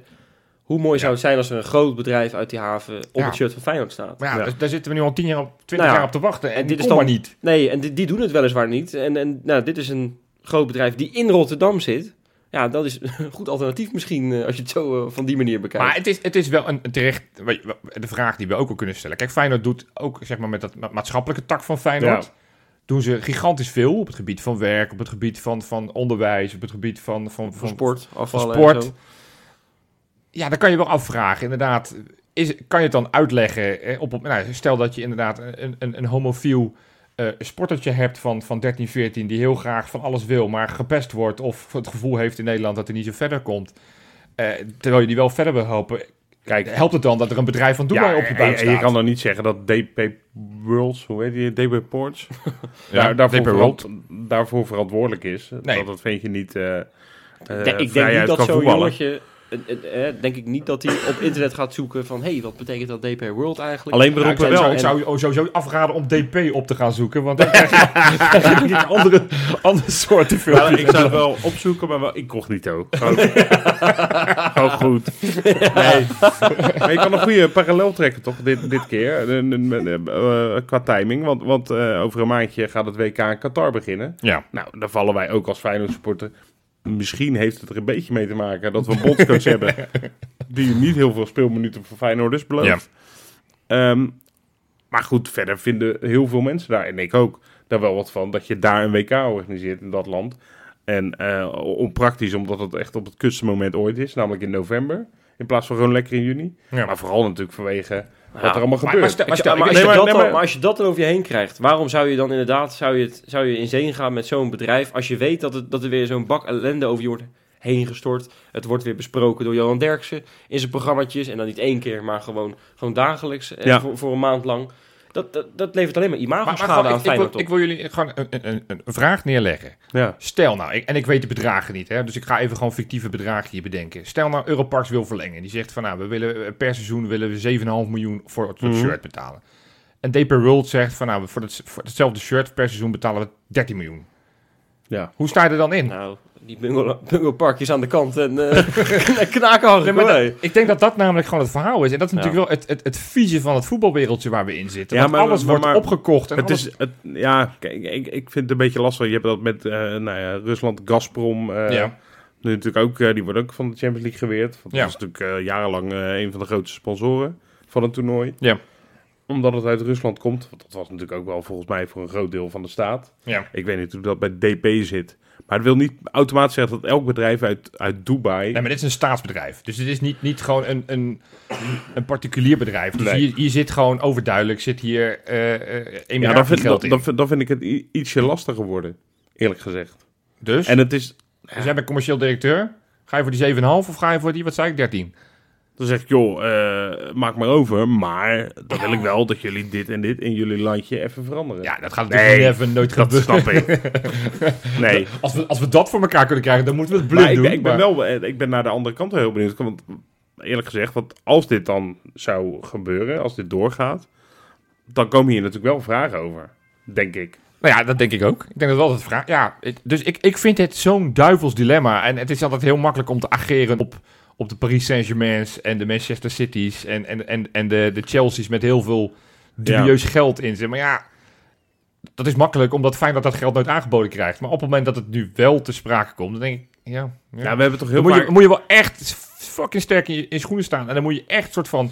Hoe mooi zou het zijn als er een groot bedrijf uit die haven... op Ja. het shirt van Feyenoord staat. Maar ja, dus Ja. daar- daar zitten we nu al 10 jaar op, 20 Nou ja, jaar op te wachten. En, en dit dit is is dan- maar niet. Nee, en die, die doen het weliswaar niet. En, en nou, dit is een groot bedrijf die in Rotterdam zit. Ja, dat is een goed alternatief misschien eh, als je het zo eh, van die manier bekijkt. Maar het is, het is wel een, een terecht... weet je, De vraag die we ook al kunnen stellen. Kijk, Feyenoord doet ook zeg maar, met dat ma- maatschappelijke tak van Feyenoord... Ja. doen ze gigantisch veel op het gebied van werk... op het gebied van, van onderwijs, op het gebied van... van, van van sport, afvallen van sport. en zo. Ja, dan kan je wel afvragen, inderdaad. Is, kan je het dan uitleggen? eh, Op, op, nou, stel dat je inderdaad een, een, een homofiel eh, sportertje hebt van, van 13, 14... die heel graag van alles wil, maar gepest wordt... of het gevoel heeft in Nederland dat hij niet zo verder komt... eh, terwijl je die wel verder wil helpen. Kijk, helpt het dan dat er een bedrijf van Dubai op je buik en, en staat? je kan dan niet zeggen dat DP Worlds, hoe heet die, DP Ports, Ja, daar, daarvoor, DP World. verant- daarvoor verantwoordelijk is. Nee. Dat, dat vind je niet... eh, eh, De- ik denk vrijheid niet dat kan zo'n voetballen. jongetje... eh, eh, eh, denk ik niet dat hij op internet gaat zoeken van... hé, hey, wat betekent dat DP World eigenlijk? Alleen we Ja, roepen ik wel- Ik zou je sowieso afraden om DP op te gaan zoeken, want dan krijg je, dan krijg je denk ik andere, andere soorten Ja, filmpjes. Nou, ik zou het wel opzoeken, maar wel incognito. Gewoon, Gewoon goed. Nee. Maar je kan een goede parallel trekken, toch? Dit, dit keer. Een- een- een- eh, Qua timing. Want, want eh, over een maandje gaat het WK in Qatar beginnen. Ja. Nou, daar vallen wij ook als Feyenoord supporter. Misschien heeft het er een beetje mee te maken dat we een bondscoach hebben... die niet heel veel speelminuten voor Feyenoorders belooft. Ja. Ehm, maar goed, verder vinden heel veel mensen daar, en ik ook, daar wel wat van... dat je daar een WK organiseert in dat land. En eh, onpraktisch, omdat het echt op het kutste moment ooit is. Namelijk in november. In plaats van gewoon lekker in juni. Ja. Maar vooral natuurlijk vanwege wat Ja, er allemaal maar- gebeurt. maar stel- Maar, stel- maar als nee, je maar- dat nee, dan- maar- maar als je dat dan over je heen krijgt, waarom zou je dan inderdaad zou je, het, zou je in zee gaan met zo'n bedrijf als je weet dat, het, dat er weer zo'n bak ellende over je wordt heen gestort? Het wordt weer besproken door Johan Derksen in zijn programmaatjes en dan niet één keer, maar gewoon, gewoon dagelijks eh, Ja. voor, voor een maand lang. Dat, dat, dat levert alleen maar Maar, maar imago-schade gewoon, aan ik, ik, Feyenoord wil, op. ik wil jullie gewoon een, een, een, een vraag neerleggen. ja. Stel nou, ik- en ik weet de bedragen niet, hè, dus ik ga even gewoon fictieve bedragen hier bedenken. Stel nou, Europarks wil verlengen. Die zegt van, nou, we willen, eh, per seizoen willen we 7,5 miljoen voor het Mhm. shirt betalen. En DP World zegt van, nou, voor, het, voor hetzelfde shirt per seizoen betalen we 13 miljoen. Ja. Hoe sta je er dan in? Hm. Nou, die bungal- bungalparkjes aan de kant en eh knaken Nee, hangen. maar dat- ik denk dat dat namelijk gewoon het verhaal is. En dat is Ja. natuurlijk wel het, het, het vieze van het voetbalwereldje waar we in zitten. Ja, Want maar- alles maar- wordt maar- opgekocht. En Het alles- is, het, ja, kijk, ik, ik vind het een beetje lastig. Je hebt dat met eh, nou ja, Rusland, Gazprom. eh, ja. Nu natuurlijk ook, eh, die wordt ook van de Champions League geweerd. Want Ja. Dat is natuurlijk eh, jarenlang eh, een van de grootste sponsoren van het toernooi. Ja. Omdat het uit Rusland komt. Want dat was natuurlijk ook wel volgens mij voor een groot deel van de staat. Ja. Ik weet niet hoe dat bij DP zit. Maar het wil niet automatisch zeggen dat elk bedrijf uit, uit Dubai... Nee, maar dit is een staatsbedrijf. Dus het is niet, niet gewoon een, een, een particulier bedrijf. Dus Nee. hier, hier zit gewoon overduidelijk, zit hier eh eh ja, Emiraten dan vind, geld dan, in. dan vind- dan vind ik het i- ietsje lastiger worden. Eerlijk gezegd. dus, En het is... dus jij bent commercieel directeur. Ga je voor die 7,5 of ga je voor die, wat zei ik, 13? Dan zeg ik, joh, eh, maak maar over. Maar dan wil ik wel dat jullie dit en dit in jullie landje even veranderen. Ja, dat gaat Nee, natuurlijk never, nooit dat gebeuren. snap ik. nee. Als we, als we dat voor elkaar kunnen krijgen, dan moeten we het Maar blunt ik, doen. ben- ik ben maar- wel, eh, ik ben naar de andere kant wel heel benieuwd. Want eerlijk gezegd, want als dit dan zou gebeuren, als dit doorgaat, dan komen hier natuurlijk wel vragen over. Denk ik. Nou ja, dat denk ik ook. Ik denk dat wel dat vraag. Ja, ik- dus ik, ik vind het zo'n duivels dilemma. En het is altijd heel makkelijk om te ageren op, op de Paris Saint-Germain's en de Manchester City's en, en, en, en de, de Chelsea's met heel veel dubieus geld in zit. Maar ja, dat is makkelijk omdat fijn dat dat geld nooit aangeboden krijgt. Maar op het moment dat het nu wel te sprake komt, dan denk ik, ja. ja. Ja, Nou, we hebben toch heel dan moet vaak... je, moet je wel echt fucking sterk in, je, in je schoenen staan. En dan moet je echt soort van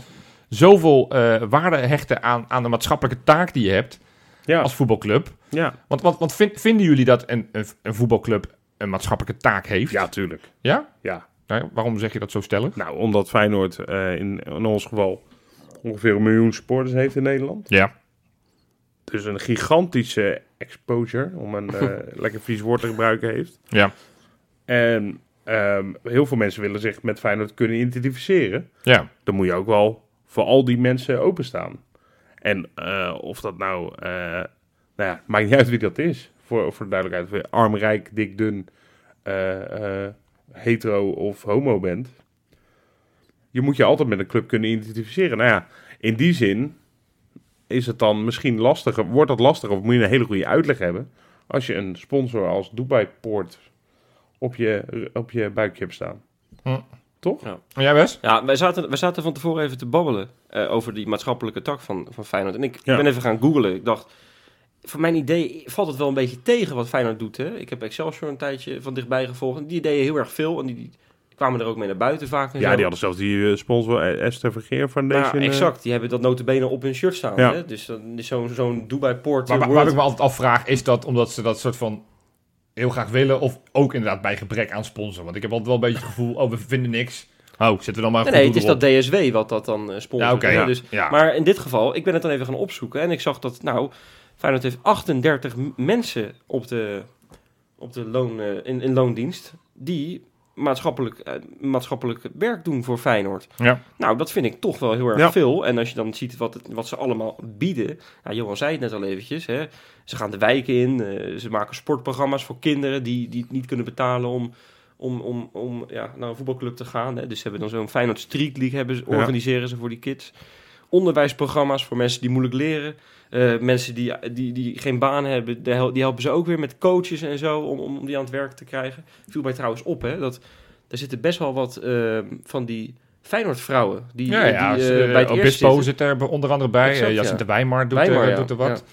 zoveel eh, waarde hechten aan, aan de maatschappelijke taak die je hebt ja, als voetbalclub. ja. Want, want, want vin- vinden jullie dat een, een, een voetbalclub een maatschappelijke taak heeft? ja, tuurlijk. Ja? Ja. Nou, waarom zeg je dat zo stellig? Nou, omdat Feyenoord eh, in, in ons geval ongeveer een miljoen supporters heeft in Nederland. Ja. dus een gigantische exposure, om een eh, lekker vies woord te gebruiken, heeft. Ja. En ehm, heel veel mensen willen zich met Feyenoord kunnen identificeren. Ja. Dan moet je ook wel voor al die mensen openstaan. En eh, of dat nou, eh, nou ja, maakt niet uit wie dat is. Voor, voor de duidelijkheid, arm, rijk, dik, dun, eh, eh, hetero of homo bent. Je moet je altijd met een club kunnen identificeren. Nou ja, in die zin is het dan misschien lastiger, wordt dat lastiger of moet je een hele goede uitleg hebben als je een sponsor als Dubai Port op je, op je buikje hebt staan. Hm. Toch? En jij Wes? Ja, wij zaten, wij zaten van tevoren even te babbelen eh, over die maatschappelijke tak van, van Feyenoord. En ik Ja. ben even gaan googlen. Ik dacht, voor mijn idee valt het wel een beetje tegen wat Feyenoord doet. Hè? Ik heb Excelsior een tijdje van dichtbij gevolgd. En die deden heel erg veel. En die, die kwamen er ook mee naar buiten vaak. En Ja, zo. die hadden zelfs die eh, sponsor eh, Esther Vergeer Maar Foundation. eh, exact. Die hebben dat notabene op hun shirt staan. Ja. Hè? Dus dan is zo'n zo'n Dubai Port Waar, waar, waar World- ik me altijd afvraag, is dat omdat ze dat soort van heel graag willen of ook inderdaad bij gebrek aan sponsor? Want ik heb altijd wel een beetje het gevoel, oh, we vinden niks. Oh, zetten we dan maar een goed Nee, nee, het is doel dat erop. DSW wat dat dan eh, sponsort. Ja, oké, hè? ja. Dus Ja. Maar in dit geval, ik ben het dan even gaan opzoeken en ik zag dat, nou, Feyenoord heeft 38 m- mensen op de, op de loon, eh, in, in loondienst die maatschappelijk, eh, maatschappelijk werk doen voor Feyenoord. Ja. Nou, dat vind ik toch wel heel erg Ja. veel. En als je dan ziet wat, het- wat ze allemaal bieden, nou, Johan zei het net al eventjes, hè, ze gaan de wijken in, eh, ze maken sportprogramma's voor kinderen die, die het niet kunnen betalen om om, om, om ja, naar een voetbalclub te gaan. Hè. Dus ze hebben dan zo'n Feyenoord Street League hebben ze, Ja. organiseren ze voor die kids. Onderwijsprogramma's voor mensen die moeilijk leren. Eh, mensen die, die, die geen baan hebben, de hel- die helpen ze ook weer met coaches en zo om, om die aan het werk te krijgen. Viel mij trouwens op, hè, dat er zitten best wel wat eh, van die Feyenoord-vrouwen die, Ja, eh, ja. die dus, eh, eh, bij het eerst Obispo zitten. zit er be- onder andere bij. Exact, eh ja. Jacinta Weimar doet, Weimar, er, ja. doet er wat.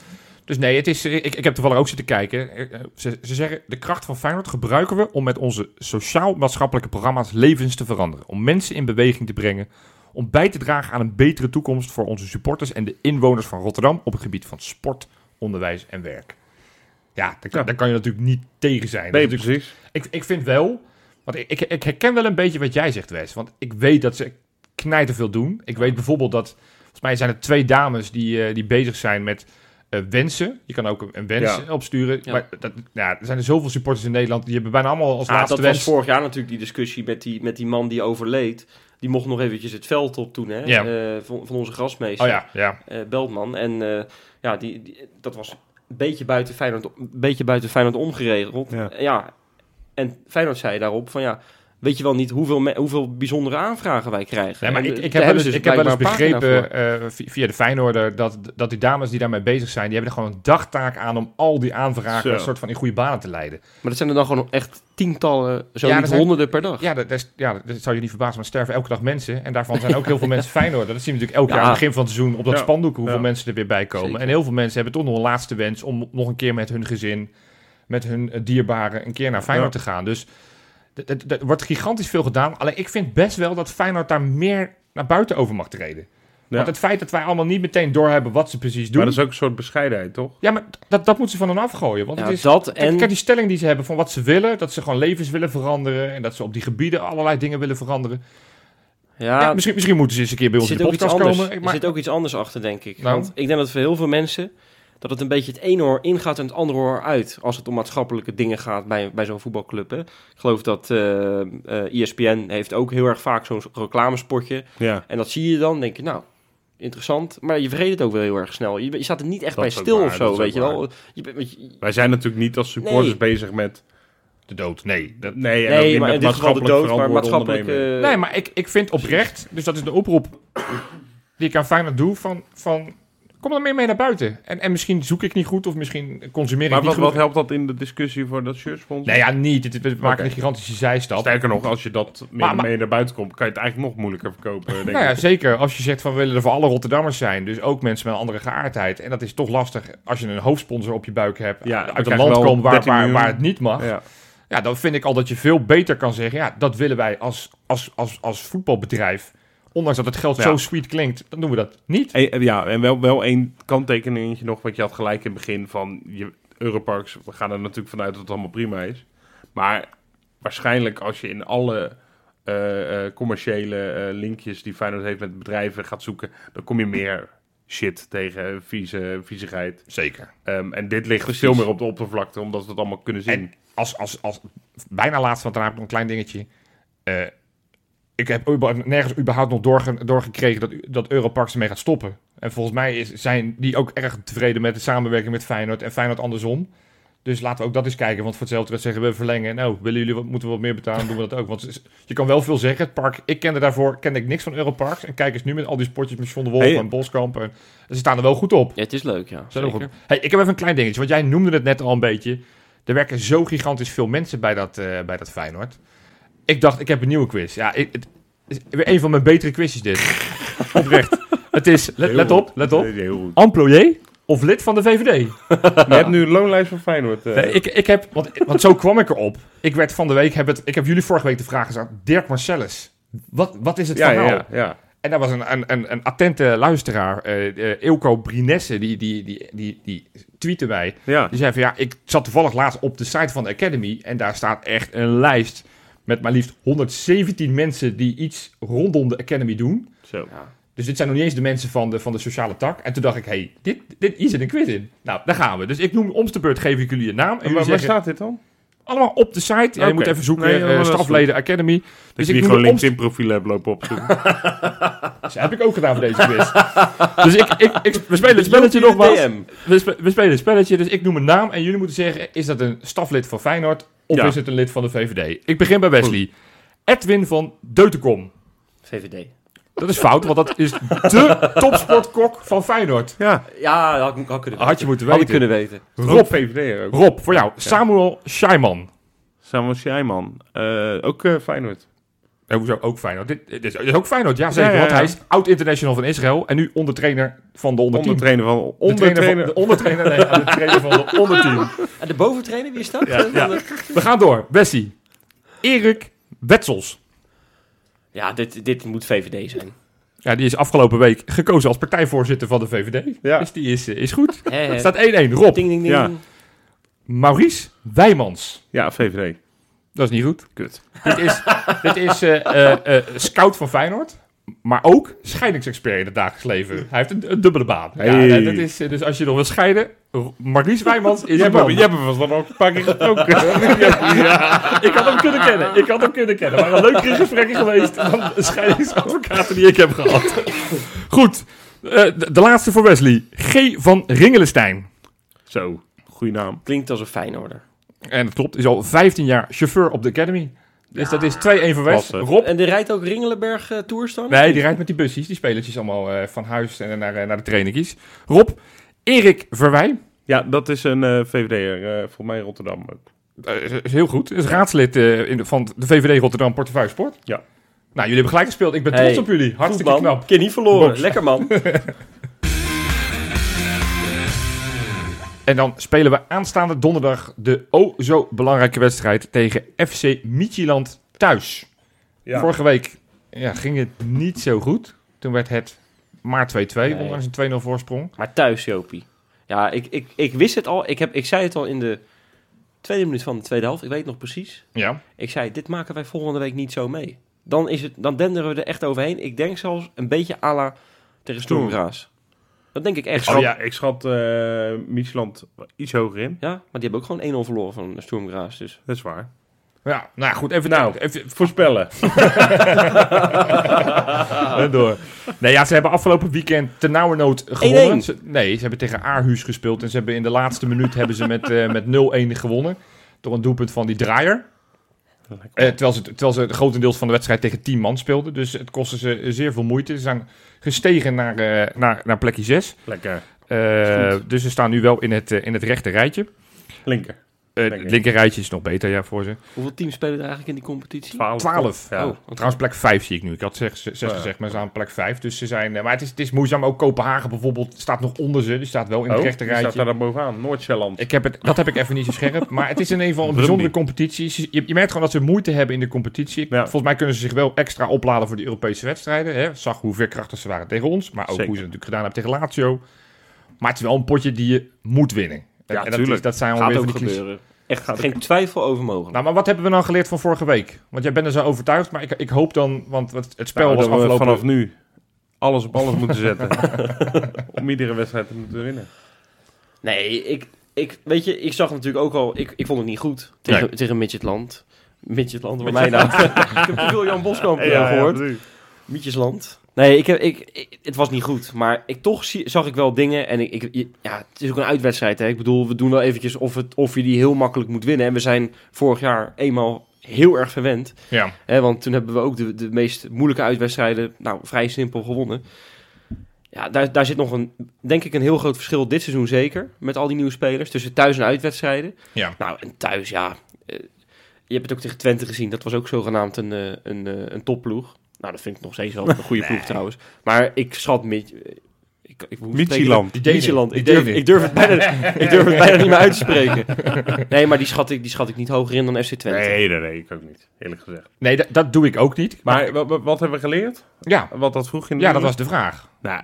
Dus nee, het is, ik, ik heb toevallig ook zitten kijken. Eh, eh, Ze, ze zeggen, de kracht van Feyenoord gebruiken we om met onze sociaal-maatschappelijke programma's levens te veranderen. Om mensen in beweging te brengen. Om bij te dragen aan een betere toekomst voor onze supporters en de inwoners van Rotterdam op het gebied van sport, onderwijs en werk. Ja, daar, kan- Ja. daar kan je natuurlijk niet tegen zijn. Dus Dat Nee, is natuurlijk- precies. ik, ik vind wel, want ik, ik, ik herken wel een beetje wat jij zegt, Wes. Want ik weet dat ze knijten veel doen. Ik weet bijvoorbeeld dat, volgens mij zijn er twee dames die, eh, die bezig zijn met eh, wensen. Je kan ook een, een wens Ja. opsturen. Ja. Maar dat, ja, er zijn er zoveel supporters in Nederland, die hebben bijna allemaal als Ah, laatste dat wens. was vorig jaar natuurlijk die discussie met die, met die man die overleed. Die mocht nog eventjes het veld op toen, hè? Ja. eh, van, van onze grasmeester, Oh ja, ja. eh, Beltman. En eh, ja, die, die- dat was een beetje buiten Feyenoord, een beetje buiten Feyenoord omgeregeld. Ja. Eh, ja, en Feyenoord zei daarop van ja, weet je wel niet hoeveel, me- hoeveel bijzondere aanvragen wij krijgen. Nee, maar En, ik, eh, ik daar heb wel eens, hebben ze ik heb wel eens blijkbaar een pagina begrepen eh, vi- via de Feyenoorder dat, dat die dames die daarmee bezig zijn, die hebben er gewoon een dagtaak aan om al die aanvragen Zo. een soort van in goede banen te leiden. voor. Maar dat zijn er dan gewoon echt tientallen, zo Ja, niet dat zijn- honderden per dag. Ja, dat, dat is- ja, dat zou je niet verbazen, maar er sterven elke dag mensen. En daarvan zijn ook heel veel mensen Feyenoord. Dat zien we natuurlijk elk Ja. jaar aan het begin van het seizoen op dat Ja. spandoek hoeveel Ja. mensen er weer bij komen. Zeker. En heel veel mensen hebben toch nog een laatste wens om nog een keer met hun gezin, met hun eh, dierbaren, een keer naar Feyenoord te gaan. Dus d- d- d- er wordt gigantisch veel gedaan. Alleen ik vind best wel dat Feyenoord daar meer naar buiten over mag treden. Want het feit dat wij allemaal niet meteen doorhebben wat ze precies doen. Maar dat is ook een soort bescheidenheid, toch? Ja, maar dat, dat moeten ze van hen afgooien. Want Ja, het is, dat Kijk, en... kijk, die stelling die ze hebben van wat ze willen, dat ze gewoon levens willen veranderen en dat ze op die gebieden allerlei dingen willen veranderen. ja, ja, misschien, misschien moeten ze eens een keer bij ons in zit de ook iets podcast anders. komen. Er Maar, zit ook iets anders achter, denk ik. Nou? Want ik denk dat voor heel veel mensen dat het een beetje het ene oor ingaat en het andere oor uit. Als het om maatschappelijke dingen gaat bij, bij zo'n voetbalclub. Hè. Ik geloof dat eh eh, ESPN heeft ook heel erg vaak zo'n reclamespotje. Ja. En dat zie je dan, denk je, nou, interessant. Maar je vergeet het ook wel heel erg snel. Je, je staat er niet echt Dat bij is ook stil waar, of dat zo, is weet ook je waar. wel. Je, bent- want je- Wij zijn natuurlijk niet als supporters Nee. bezig met... eh, de dood, nee. dat- Nee, en ook nee, niet maar in met dit geval de maatschappelijk dood, maar verantwoorde maatschappelijk... ondernemen. eh, nee, maar ik, ik vind oprecht, dus dat is de oproep die ik aan Feyenoord doe, van, van kom er meer mee naar buiten. En, en misschien zoek ik niet goed of misschien consumeer ik Maar niet wat, goed. wat helpt dat in de discussie voor dat shirtsponsor? nee, ja, niet. Het- het- we maken Oké. een gigantische zijstap. Sterker nog, als je dat meer Maar- maar- mee naar buiten komt, kan je het eigenlijk nog moeilijker verkopen, denk Nou ja, ik. zeker. Als je zegt van we willen er voor alle Rotterdammers zijn. Dus ook mensen met een andere geaardheid. En dat is toch lastig als je een hoofdsponsor op je buik hebt. Ja, dan uit een krijg je land wel komt waar, 13 waar, miljoen. waar het niet mag. Ja. Ja, dan vind ik al dat je veel beter kan zeggen. Ja, dat willen wij als, als, als, als voetbalbedrijf. Ondanks dat het geld Ja. zo sweet klinkt, dan doen we dat niet. En, en ja, en wel, wel één kanttekeningetje nog, want je had gelijk in het begin van je Europarks. We gaan er natuurlijk vanuit dat het allemaal prima is. Maar waarschijnlijk als je in alle eh, eh, commerciële eh, linkjes die Feyenoord heeft met bedrijven gaat zoeken, dan kom je meer shit tegen, eh, vieze, viezigheid. Zeker. Ehm, en dit ligt veel meer op de oppervlakte, omdat we het allemaal kunnen zien. En als, als, als bijna laatst, want daarna heb ik nog een klein dingetje. Eh, ik heb uber- nergens überhaupt nog doorge- doorgekregen dat, dat Europarks ermee gaat stoppen. En volgens mij is, zijn die ook erg tevreden met de samenwerking met Feyenoord en Feyenoord andersom. Dus laten we ook dat eens kijken, want voor hetzelfde rest zeggen we verlengen. Nou, willen jullie wat, moeten we wat meer betalen, doen we dat ook. Want ze- je kan wel veel zeggen. Het park, ik kende daarvoor kende ik niks van Europarks. En kijk eens nu met al die sportjes met John de Wolf Hey. en Boskamp. En, ze staan er wel goed op. ja, het is leuk, ja. Zijn er nog zeker. op- Hey, ik heb even een klein dingetje, want jij noemde het net al een beetje. Er werken zo gigantisch veel mensen bij dat, eh, bij dat Feyenoord. Ik dacht, ik heb een nieuwe quiz. Ja, ik, het is weer een van mijn betere quizjes dit. Oprecht. Het is, let, Heel let goed. op, let op. Nee, heel goed. Employé of lid van de VVD? Je hebt nu een loonlijst van Feyenoord. eh. Nee, ik, ik heb, want, want zo kwam ik erop. Ik werd van de week, heb het, ik heb jullie vorige week de vraag gesteld. Dirk Marcellus, wat, wat is het ja, verhaal? ja, ja. En daar was een, een, een, een attente luisteraar, eh eh, Eelco Brinesse, die, die, die, die, die tweette mij. ja. Die zei van ja, ik zat toevallig laatst op de site van de Academy en daar staat echt een lijst met maar liefst 117 mensen die iets rondom de Academy doen. Zo. Dus dit zijn nog niet eens de mensen van de, van de sociale tak. En toen dacht ik, hé, hey, dit, dit, hier zit een quiz in. Nou, daar gaan we. Dus ik noem om de beurt, geef ik jullie een naam. En En waar, jullie waar zeggen, staat dit dan? allemaal op de site. Ja, Oké. je moet even zoeken, Nee, eh, dat is stafleden Academy. Dus Dus ik die ik noem gewoon de omst- LinkedIn-profielen hebben lopen opzoeken. Dat heb ik ook gedaan voor deze quiz. dus ik, ik, ik, we spelen het spelletje Jullie nogmaals. DM. We, spe- we spelen een spelletje, dus ik noem een naam en jullie moeten zeggen: is dat een staflid van Feyenoord Of Ja. is het een lid van de VVD? Ik begin bij Wesley. Edwin van Deutenkom. VVD. Dat is fout, want dat is de topsportkok van Feyenoord. Ja, Ja, had, ik- had ik kunnen Had je moeten Had ik weten. kunnen weten. Rob Rob, VVD ook. Rob, voor jou. Samuel Scheiman. Samuel Sjijman. Eh, ook eh, Feyenoord. Eh, hoezo ook Feyenoord? Dit, dit, is, dit is ook Feyenoord, ja zeker. Ja, ja, Want ja. hij is oud-international van Israël en nu ondertrainer van de onderteam. Ondertrainer van... De trainer Ondertrainer... van- De ondertrainer, nee, ja, de trainer van de onderteam. En de boventrainer, wie is dat? Ja, Ja, ja. We gaan door. Bessie. Erik Wetsels. dit, dit moet VVD zijn. Ja, die is afgelopen week gekozen als partijvoorzitter van de VVD. Ja. Dus die is, eh, is goed. Hè, hè. Het staat 1-1. Rob. Ding, ding, ding. Ja. Maurice Wijmans. Ja, VVD. Dat is niet goed. Kut. Dit is, dit is eh, eh, eh, scout van Feyenoord. Maar ook scheidingsexpert in het dagelijks leven. Hij heeft een, een dubbele baan. Hey. Ja, dat is, eh, dus als je nog wil scheiden, R- Maurice Wijmans is Jij je hebt man. jij hebt hem van ook een paar keer gesproken. Ik had hem kunnen kennen. Ik had hem kunnen kennen. Maar een leukere gesprekken geweest dan de scheidingsadvocaten die ik heb gehad. Goed. eh, de, de laatste voor Wesley. G. van Ringelenstein. Zo, goede naam. Klinkt als een Feyenoorder. En dat klopt. Is al 15 jaar chauffeur op de Academy. Dus dat is 2-1 voor West. Klasse. Rob. En die rijdt ook Ringelenberg eh, Tours dan? Nee, die rijdt met die busjes. Die spelertjes allemaal eh, van huis en naar, eh, naar de trainingkies. Rob. Erik Verwij. Ja, dat is een eh VVD'er. eh, volgens mij in Rotterdam ook. Eh, is heel goed. Is raadslid eh, in de- van de VVD Rotterdam Portefeuille Sport. Ja. Nou, jullie hebben gelijk gespeeld. Ik ben Hey, trots op jullie. Hartstikke Goed, man. knap. Keer niet verloren. Box. Lekker man. En dan spelen we aanstaande donderdag de o zo belangrijke wedstrijd tegen FC Midtjylland thuis. Ja. Vorige week ja, ging het niet zo goed. Toen werd het maar 2-2, Nee. ondanks een 2-0 voorsprong. Maar thuis, Jopie. Ja, ik, ik, ik wist het al. Ik, heb, ik zei het al in de tweede minuut van de tweede helft. Ik weet het nog precies. Ja. Ik zei, dit maken wij volgende week niet zo mee. Dan, is het, dan denderen we er echt overheen. Ik denk zelfs een beetje à la tegen Stoemgraas. Dat denk ik echt. Oh ja, ik schat eh Micheland iets hoger in. Ja, maar die hebben ook gewoon 1-0 verloren van Stoemgraas. Dus Dat is waar. Ja, nou goed, even Nou. Even, Voorspellen. eh, door. Nee, ja, ze hebben afgelopen weekend ten nauwernood gewonnen. 1-1. Ze- nee, ze hebben tegen Aarhus gespeeld en ze hebben in de laatste minuut hebben ze met, eh, met 0-1 gewonnen. Door een doelpunt van die draaier. Eh, terwijl, ze, terwijl ze grotendeels van de wedstrijd tegen 10 man speelden. Dus het kostte ze zeer veel moeite. Ze zijn gestegen naar, eh, naar, naar plekje 6. Lekker. dus ze staan nu wel in het, eh, in het rechte rijtje. Linker. Eh, Denk het ik. linker rijtje is nog beter ja, voor ze. hoeveel teams spelen er eigenlijk in die competitie? 12. 12. Ja. Oh. Trouwens, plek 5 zie ik nu. Ik had 6 Oh ja. gezegd, maar ze staan op plek 5. Dus ze zijn, eh, maar het is, het is moeizaam. Ook Kopenhagen bijvoorbeeld staat nog onder ze. Die staat wel in het Oh, rechte die staat rijtje. daar dan bovenaan. Noord-Zeeland. Ik heb het, dat heb ik even niet zo scherp. Maar het is in ieder geval een bijzondere competitie. Ze- Je, je merkt gewoon dat ze moeite hebben in de competitie. Ik- Ja. Volgens mij kunnen ze zich wel extra opladen voor die Europese wedstrijden. Hè. Zag hoe veerkrachtig ze waren tegen ons. Maar ook Zeker. hoe ze het natuurlijk gedaan hebben tegen Lazio. Maar het is wel een potje die je moet winnen. En- en dat, tuurlijk. is- dat zijn Gaat alweer van ook die clichés. gebeuren. Echt, geen twijfel over mogelijk. Nou, maar wat hebben we nou geleerd van vorige week? Want jij bent er zo overtuigd, maar ik, ik hoop dan... Want het het spel Nou, was dat we afgelopen... vanaf nu alles op alles moeten zetten. Om iedere wedstrijd te moeten winnen. Nee, ik, ik, weet je, ik zag natuurlijk ook al, ik, ik vond het niet goed tegen, Nee. tegen Midgetland. Midgetland, wat mij nou. ik heb te veel Jan Boskamp eh, gehoord. Mietjesland. Nee, ik heb, ik, ik- het was niet goed. Maar ik, toch zie, zag ik wel dingen. En ik, ik, je- ja, het is ook een uitwedstrijd. Hè? Ik bedoel, we doen wel eventjes of, het, of je die heel makkelijk moet winnen. En we zijn vorig jaar eenmaal heel erg verwend. Ja. Hè? Want toen hebben we ook de, de meest moeilijke uitwedstrijden nou, vrij simpel gewonnen. Ja, daar, daar zit nog een, denk ik, een heel groot verschil dit seizoen zeker. Met al die nieuwe spelers. Tussen thuis en uitwedstrijden. Ja. Nou, en thuis, ja. eh, je hebt het ook tegen Twente gezien. Dat was ook zogenaamd een, eh, een, eh, een topploeg. Nou, dat vind ik nog steeds wel een goede ploeg trouwens. Maar ik schat Mid... eh, Ik, ik, hoe Michieland. Die spreek je deden dat? Michieland. het. Ik Die durf, deden ik, durf het bijna, ik durf het bijna niet meer uit te spreken. Nee, maar die schat ik, die schat ik niet hoger in dan FC Twente. Nee, nee, nee, ik ook niet. Eerlijk gezegd. Nee, dat- dat doe ik ook niet. Maar wa- wa- wat hebben we geleerd? ja, Wat dat vroeg in de Nou. ja, dat nieuws? was de vraag. Nou,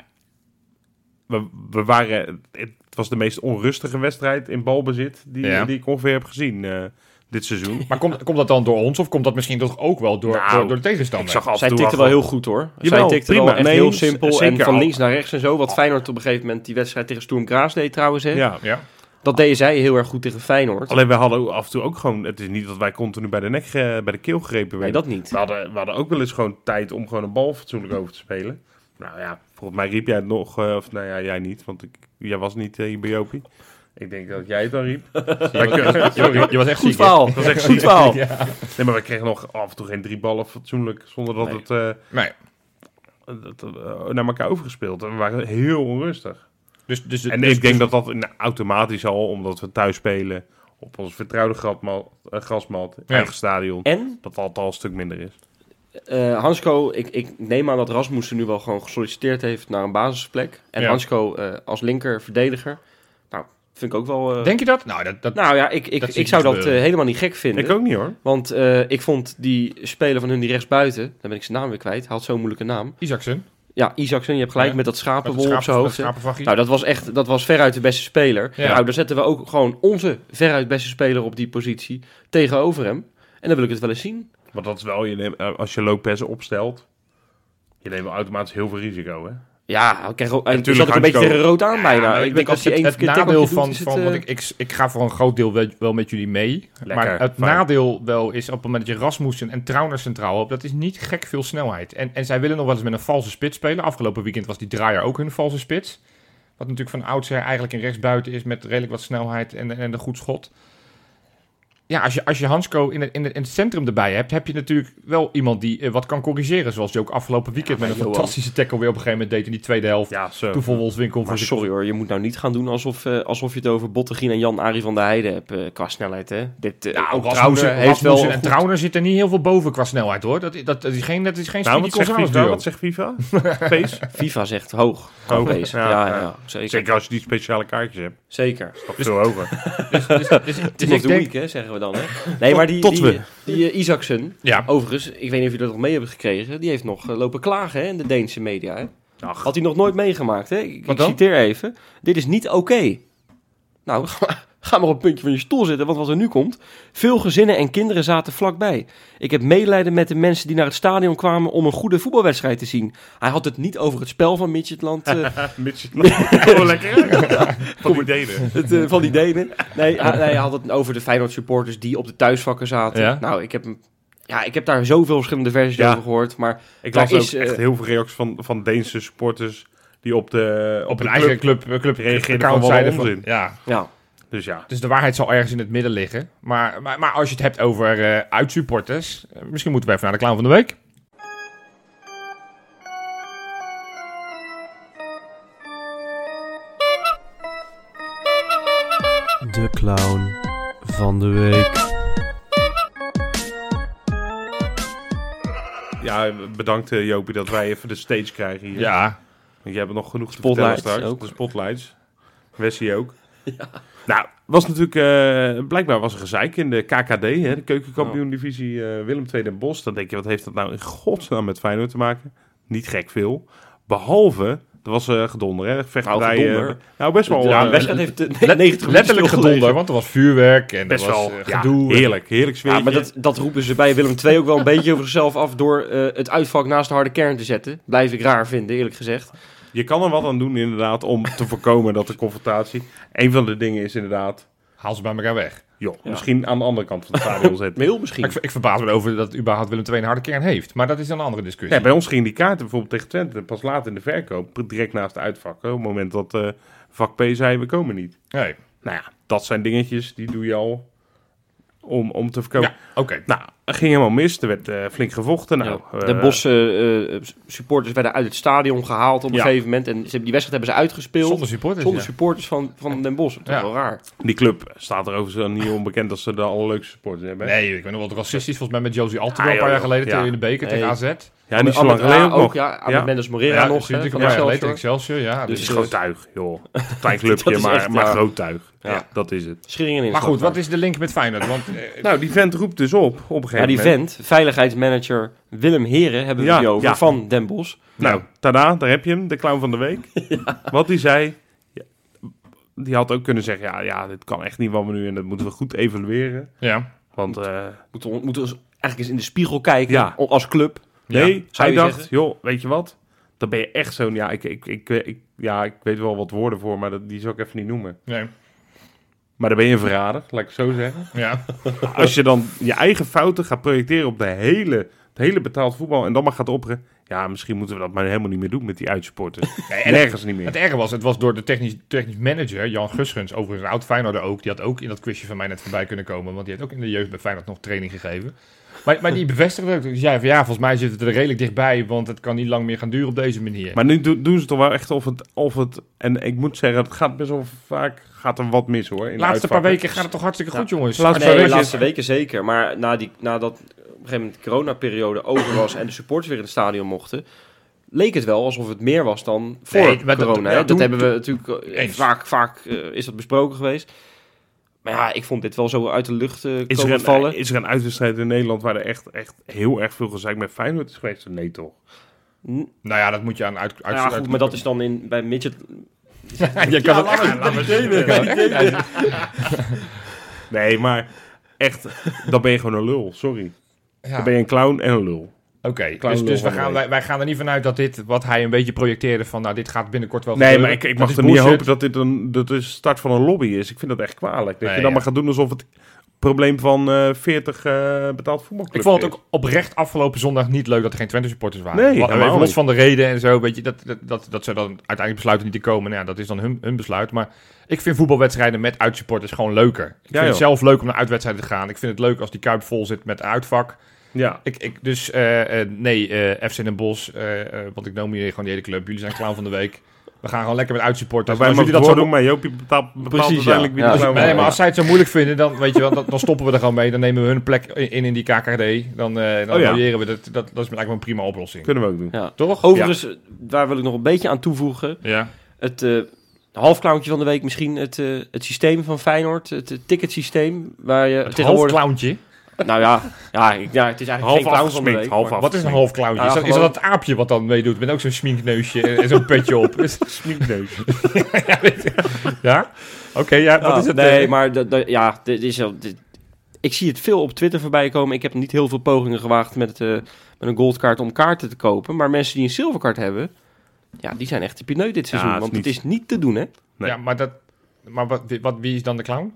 we, we waren, het was de meest onrustige wedstrijd in balbezit die, Ja. die ik ongeveer heb gezien eh, dit seizoen. Maar komt, komt dat dan door ons of komt dat misschien toch ook wel door, Nou, door, door de tegenstander? af en Zij toe tikte wel heel goed hoor. Jawel, Zij tikte prima. wel echt Nee, heel z- simpel. zeker. en van links naar rechts en zo. Wat Feyenoord op een gegeven moment die wedstrijd tegen Sturm Graas deed trouwens. Hè? Ja. Ja. Dat deden zij heel erg goed tegen Feyenoord. Alleen we hadden ook af en toe ook gewoon, het is niet dat wij continu bij de nek, ge- bij de keel gegrepen Nee, werden. dat niet. we, hadden, we hadden ook wel eens gewoon tijd om gewoon een bal fatsoenlijk over te spelen. Nou ja, volgens mij riep jij het nog, eh, of nou ja, jij niet, want ik, jij was niet eh, hier bij Jopie. Ik denk dat jij het dan riep. Je was- je was- je was echt Goed ziek. hè? verhaal. Dat is echt Goed ziek. verhaal. Nee, maar we kregen nog af en toe geen drie ballen fatsoenlijk. Zonder dat Nee. het eh, Nee. dat, eh, naar elkaar overgespeeld. En we waren heel onrustig. Dus, dus, En dus- ik denk dat dat nou, automatisch al, omdat we thuis spelen op ons vertrouwde grasmat, eh, grasmat Ja. eigen stadion, En dat dat al een stuk minder is. Eh, Hansco, ik, ik neem aan dat Rasmussen nu wel gewoon gesolliciteerd heeft naar een basisplek. En Ja. Hansco eh, als linker verdediger. Nou, vind ik ook wel. eh, Denk je dat? Nou, dat, dat, nou ja, ik, ik, Dat zie ik ik zou niet dat gebeuren. eh, helemaal niet gek vinden. Ik ook niet hoor. Want eh, ik vond die speler van hun die rechts buiten, dan ben ik zijn naam weer kwijt, hij had zo'n moeilijke naam. Isaacson. Ja, Isaacson, je hebt gelijk Ja. met dat Met schapenwol het op zijn schapen- hoofd. hè. schapenvachje. Nou, dat was echt, dat was veruit de beste speler. Ja. Nou, daar zetten we ook gewoon onze veruit beste speler op die positie tegenover hem. En dan wil ik het wel eens zien. Want dat is wel, je neemt, eh, als je Lopez opstelt, je neemt wel automatisch heel veel risico. Hè? Ja, ik kreeg ook, en toen zat Natuurlijk, ik een beetje Hansco. tegen rood aan bijna. Ja, ik denk als je het, één het verkeerd nadeel tackeltje van, doet, is het, van eh, want ik, ik, ik ga voor een groot deel wel, wel met jullie mee. maar het fijn. nadeel wel is op het moment dat je Rasmussen en Trauner centraal hebt, dat is niet gek veel snelheid. En, en zij willen nog wel eens met een valse spits spelen. Afgelopen weekend was die draaier ook hun valse spits. Wat natuurlijk van oudsher eigenlijk een rechtsbuiten is met redelijk wat snelheid en, en een goed schot. Ja, als je, als je Hansco in het, in, het, in het centrum erbij hebt, heb je natuurlijk wel iemand die eh, wat kan corrigeren. Zoals je ook afgelopen weekend maar met een Johan. fantastische tackle weer op een gegeven moment deed in die tweede helft. Ja, zo. Toen voor Wolfswinkel Maar voor zijn sorry hoor, je moet nou niet gaan doen alsof, eh, alsof je het over Bottegien en Jan-Arie van der Heijden hebt eh, qua snelheid. Hè? Dit, eh, Nou, ook Rasmussen, Trauner heeft wel en goed- Trauner zit er niet heel veel boven qua snelheid hoor. Dat, dat, dat is geen, dat is geen Nou, wat speedy zegt Gonzalez FIFA? duo. Wat zegt FIFA? Pees? FIFA zegt hoog. Hoog Hoog, wezen. ja, Ja, ja, ja, ja. zeker. Zeker als je die speciale kaartjes hebt. zeker. Dat is veel hoger. Dus, dus Team of ik the denk, week, hè, zeggen we dan. Hè? Nee, maar die, tot die, we. die, eh, Isaacson, ja, overigens, ik weet niet of jullie dat nog mee hebben gekregen, die heeft nog eh, lopen klagen hè, in de Deense media. Hè? Ach, Had hij nog nooit meegemaakt. Hè? Ik, Wat ik dan? citeer even. Dit is niet oké. Nou, ga maar op het puntje van je stoel zitten, want wat er nu komt. Veel gezinnen en kinderen zaten vlakbij. Ik heb medelijden met de mensen die naar het stadion kwamen om een goede voetbalwedstrijd te zien. Hij had het niet over het spel van Midgetland, eh, Mitch, oh, lekker. Van die delen. het, eh, van die Denen. Nee, hij, nee, hij had het over de Feyenoord supporters die op de thuisvakken zaten. Ja. Nou, ik heb, hem- ja, ik heb daar zoveel verschillende versies Ja. over gehoord, maar Ik Daar las ook is, eh, echt heel veel reacties van, van Deense supporters die op de, op op een de eigen club. club, club, club Reageerde account gewoon wel zeiden van- onzin. Ja, ja. Dus ja, dus de waarheid zal ergens in het midden liggen. Maar, maar, maar als je het hebt over eh, uitsupporters, eh, misschien moeten we even naar de clown van de week. De clown van de week. ja bedankt eh, Jopie dat wij even de stage krijgen hier. Ja, Want jij hebt nog genoeg Spotlights spotlights straks. ook. De spotlights. Wessie ook. Nou, was natuurlijk, eh, blijkbaar was er gezeik in de KKD, hè, de keukenkampioen-divisie eh, Willem II Den Bosch. Dan denk je, wat heeft dat nou in godsnaam met Feyenoord te maken? Niet gek veel. Behalve, er was eh gedonder, hè? Vechtpartijen. Nou, gedonder. eh, nou, best wel. ja, eh, de wedstrijd heeft eh, Let- 90 letterlijk minuten stilgelegen. gedonder, want er was vuurwerk en best er was wel. eh, ja, gedoe. en- heerlijk, heerlijk sfeertje. Ja, maar dat, dat roepen ze bij Willem II ook wel een beetje over zichzelf af door eh, het uitvak naast de harde kern te zetten. Blijf ik raar vinden, eerlijk gezegd. Je kan er wat aan doen inderdaad om te voorkomen dat de confrontatie... Een van de dingen is inderdaad, Haal ze bij elkaar weg. joh, misschien aan de andere kant van het stadion zetten. Mail Maar misschien. Ik, ik verbaas me over dat überhaupt Willem II een harde kern heeft. Maar dat is dan een andere discussie. Ja, bij ons gingen die kaarten bijvoorbeeld tegen Twente pas laat in de verkoop, direct naast de uitvakken. Op het moment dat eh, vak P zei, we komen niet. Nee. Nou ja, dat zijn dingetjes, die doe je al om, om te verkopen. Ja, oké. Nou, het ging helemaal mis. Er werd eh, flink gevochten. Nou, Ja. eh, de Bosse eh, supporters werden uit het stadion gehaald op een Ja. gegeven moment. En ze hebben, die wedstrijd hebben ze uitgespeeld Zonder zonder, supporters. ja. supporters van, van Den Bosch. Dat is Ja. wel raar. eh, Die club staat er overigens niet onbekend dat ze de allerleukste supporters hebben. Nee, ik ben nog wel racistisch. Volgens mij met Josie Altidore Ah, een paar joh, jaar geleden joh. tegen Ja. in de beker tegen Nee. AZ. Ja, Ja, niet zo Ahmed lang geleden Ra ook nog. ah, ja. Ahmed Ja. Mendes Morera nog. natuurlijk hè, een van paar jaar geleden tegen Excelsior. Excelsior. Ja, Het dus, is eh, groot tuig, joh. Klein clubje, Dat is maar, echt, maar ja. groot tuig. Ja. Ja, dat is het. Scheringen in. maar goed, wat is de link met Feyenoord? Want eh, Nou, die vent roept dus op, op een gegeven Ja, die moment. vent, veiligheidsmanager Willem Heren, hebben we Ja, het nu over, ja. van Den Bosch. Nou, tada, daar heb je hem, de clown van de week. Wat die zei, ja, die had ook kunnen zeggen, ja, ja, dit kan echt niet wat we nu en dat moeten we goed evalueren. ja. Want eh, Moeten we moeten we eens- eigenlijk eens in de spiegel kijken Ja. o- als club. nee, Ja, zou hij je dacht, zeggen? joh, weet je wat? Dan ben je echt zo'n, ja ik, ik, ik, ik- ja, ik weet wel wat woorden voor, maar dat, die zal ik even niet noemen. Nee, Maar dan ben je een verrader, laat ik het zo zeggen. ja. Als je dan je eigen fouten gaat projecteren op de hele, het hele betaald voetbal en dan maar gaat opperen, Ja, misschien moeten we dat maar helemaal niet meer doen met die uitsporters. Nee, en ergens niet Het meer. erge was, het was door de technisch, technisch manager, Jan Gusgens, overigens een oud Feyenoorder ook. Die had ook in dat quizje van mij net voorbij kunnen komen. Want die had ook in de jeugd bij Feyenoord nog training gegeven. Maar, maar die bevestigde ook. Dus ja, van, ja, volgens mij zit het er redelijk dichtbij. Want het kan niet lang meer gaan duren op deze manier. Maar nu do- doen ze toch wel echt of het, of het... En ik moet zeggen, het gaat best wel vaak... Gaat er wat mis, hoor. in de de laatste paar uitvakken. weken gaat het toch hartstikke goed, jongens. Laatste Nee, de weken- laatste weken zeker. Maar na die, nadat op een gegeven moment de coronaperiode over was en de supporters weer in het stadion mochten, leek het wel alsof het meer was dan voor Nee, maar dat- corona. hè. ja, dat toen- hebben we natuurlijk eh, Eens. vaak, vaak eh, is dat besproken geweest. Maar ja, ik vond dit wel zo uit de lucht eh Is er, komen een, vallen. is er een uitwedstrijd in Nederland waar er echt, echt heel erg veel gezeik met Feyenoord is geweest? Nee, toch? N- Nou ja, dat moet je aan uit... uit ja, goed, maar dat is dan in, bij midget... je kan het echt... laat maar zitten. Nee, maar echt, dan ben je gewoon een lul, sorry. Ja. Dan ben je een clown en een lul. Oké, Clown dus, lul dus we van de gaan, week. wij, wij gaan er niet vanuit dat dit, wat hij een beetje projecteerde van, nou, dit gaat binnenkort wel Nee, gebeuren. maar ik, ik Dat mag is er niet bullshit. hopen dat dit een dat de start van een lobby is. Ik vind dat echt kwalijk. Dat je Nee, dan ja. maar gaat doen alsof het probleem van eh 40 eh, betaald Ik voetbalclubs vond het is. ook oprecht afgelopen zondag niet leuk dat er geen Twente supporters waren. Nee, Wa- helemaal even los niet. van de reden en zo, weet je, dat, dat, dat, dat ze dan uiteindelijk besluiten niet te komen. Nou ja, dat is dan hun, hun besluit. Maar ik vind voetbalwedstrijden met uitsupporters gewoon leuker. Ik vind het joh. zelf leuk om naar uitwedstrijden te gaan. Ik vind het leuk als die Kuip vol zit met uitvak. Ja, Ik, ik, dus eh, eh, nee, eh, FC Den Bosch, eh, eh, want ik noem hier gewoon de hele club. Jullie zijn clown van de week. We gaan gewoon lekker met uitsupporters. wij Dus Als mogen jullie dat zo dat zo doen, maar Joopie betaalt, bepaalt Precies, ja. uiteindelijk wie Ja, de als- clown Nee, wordt. maar als zij het zo moeilijk vinden, dan, weet je wel, dan, dan stoppen we er gewoon mee. Dan nemen we hun plek in in, in die KKD. Dan, eh dan Oh ja. variëren we. Dat, dat, dat is eigenlijk een prima oplossing. Kunnen we ook doen. Ja. Toch? Overigens, daar wil ik nog een beetje aan toevoegen. Ja. het eh halfclowntje van de week misschien het, eh, het systeem van Feyenoord, het eh, ticketsysteem waar je Het tegenwoordig... hoofdclowntje. Nou ja, ja, ik- ja, het is eigenlijk Half geen clown van de afgesminkt, week. half maar- Wat is een hoofdclowntje? Ja, is, dat, is gewoon- dat het aapje wat dan meedoet? Met ook zo'n sminkneusje en en zo'n petje op. afgesminkt. ja? Oké, ja, wat Ja, is het? Ah, Oh, Nee, eh, maar dat- dat- ja, dit is, wel- dit- ik zie het veel op Twitter voorbij komen. Ik heb niet heel veel pogingen gewaagd met, eh, met een goldkaart om kaarten te kopen. Maar mensen die een zilverkaart hebben, ja, die zijn echt de pineut dit seizoen. het is want niet- het is niet te doen, hè. nee. Ja, maar dat... Maar wat, wie- wat, wie is dan de clown?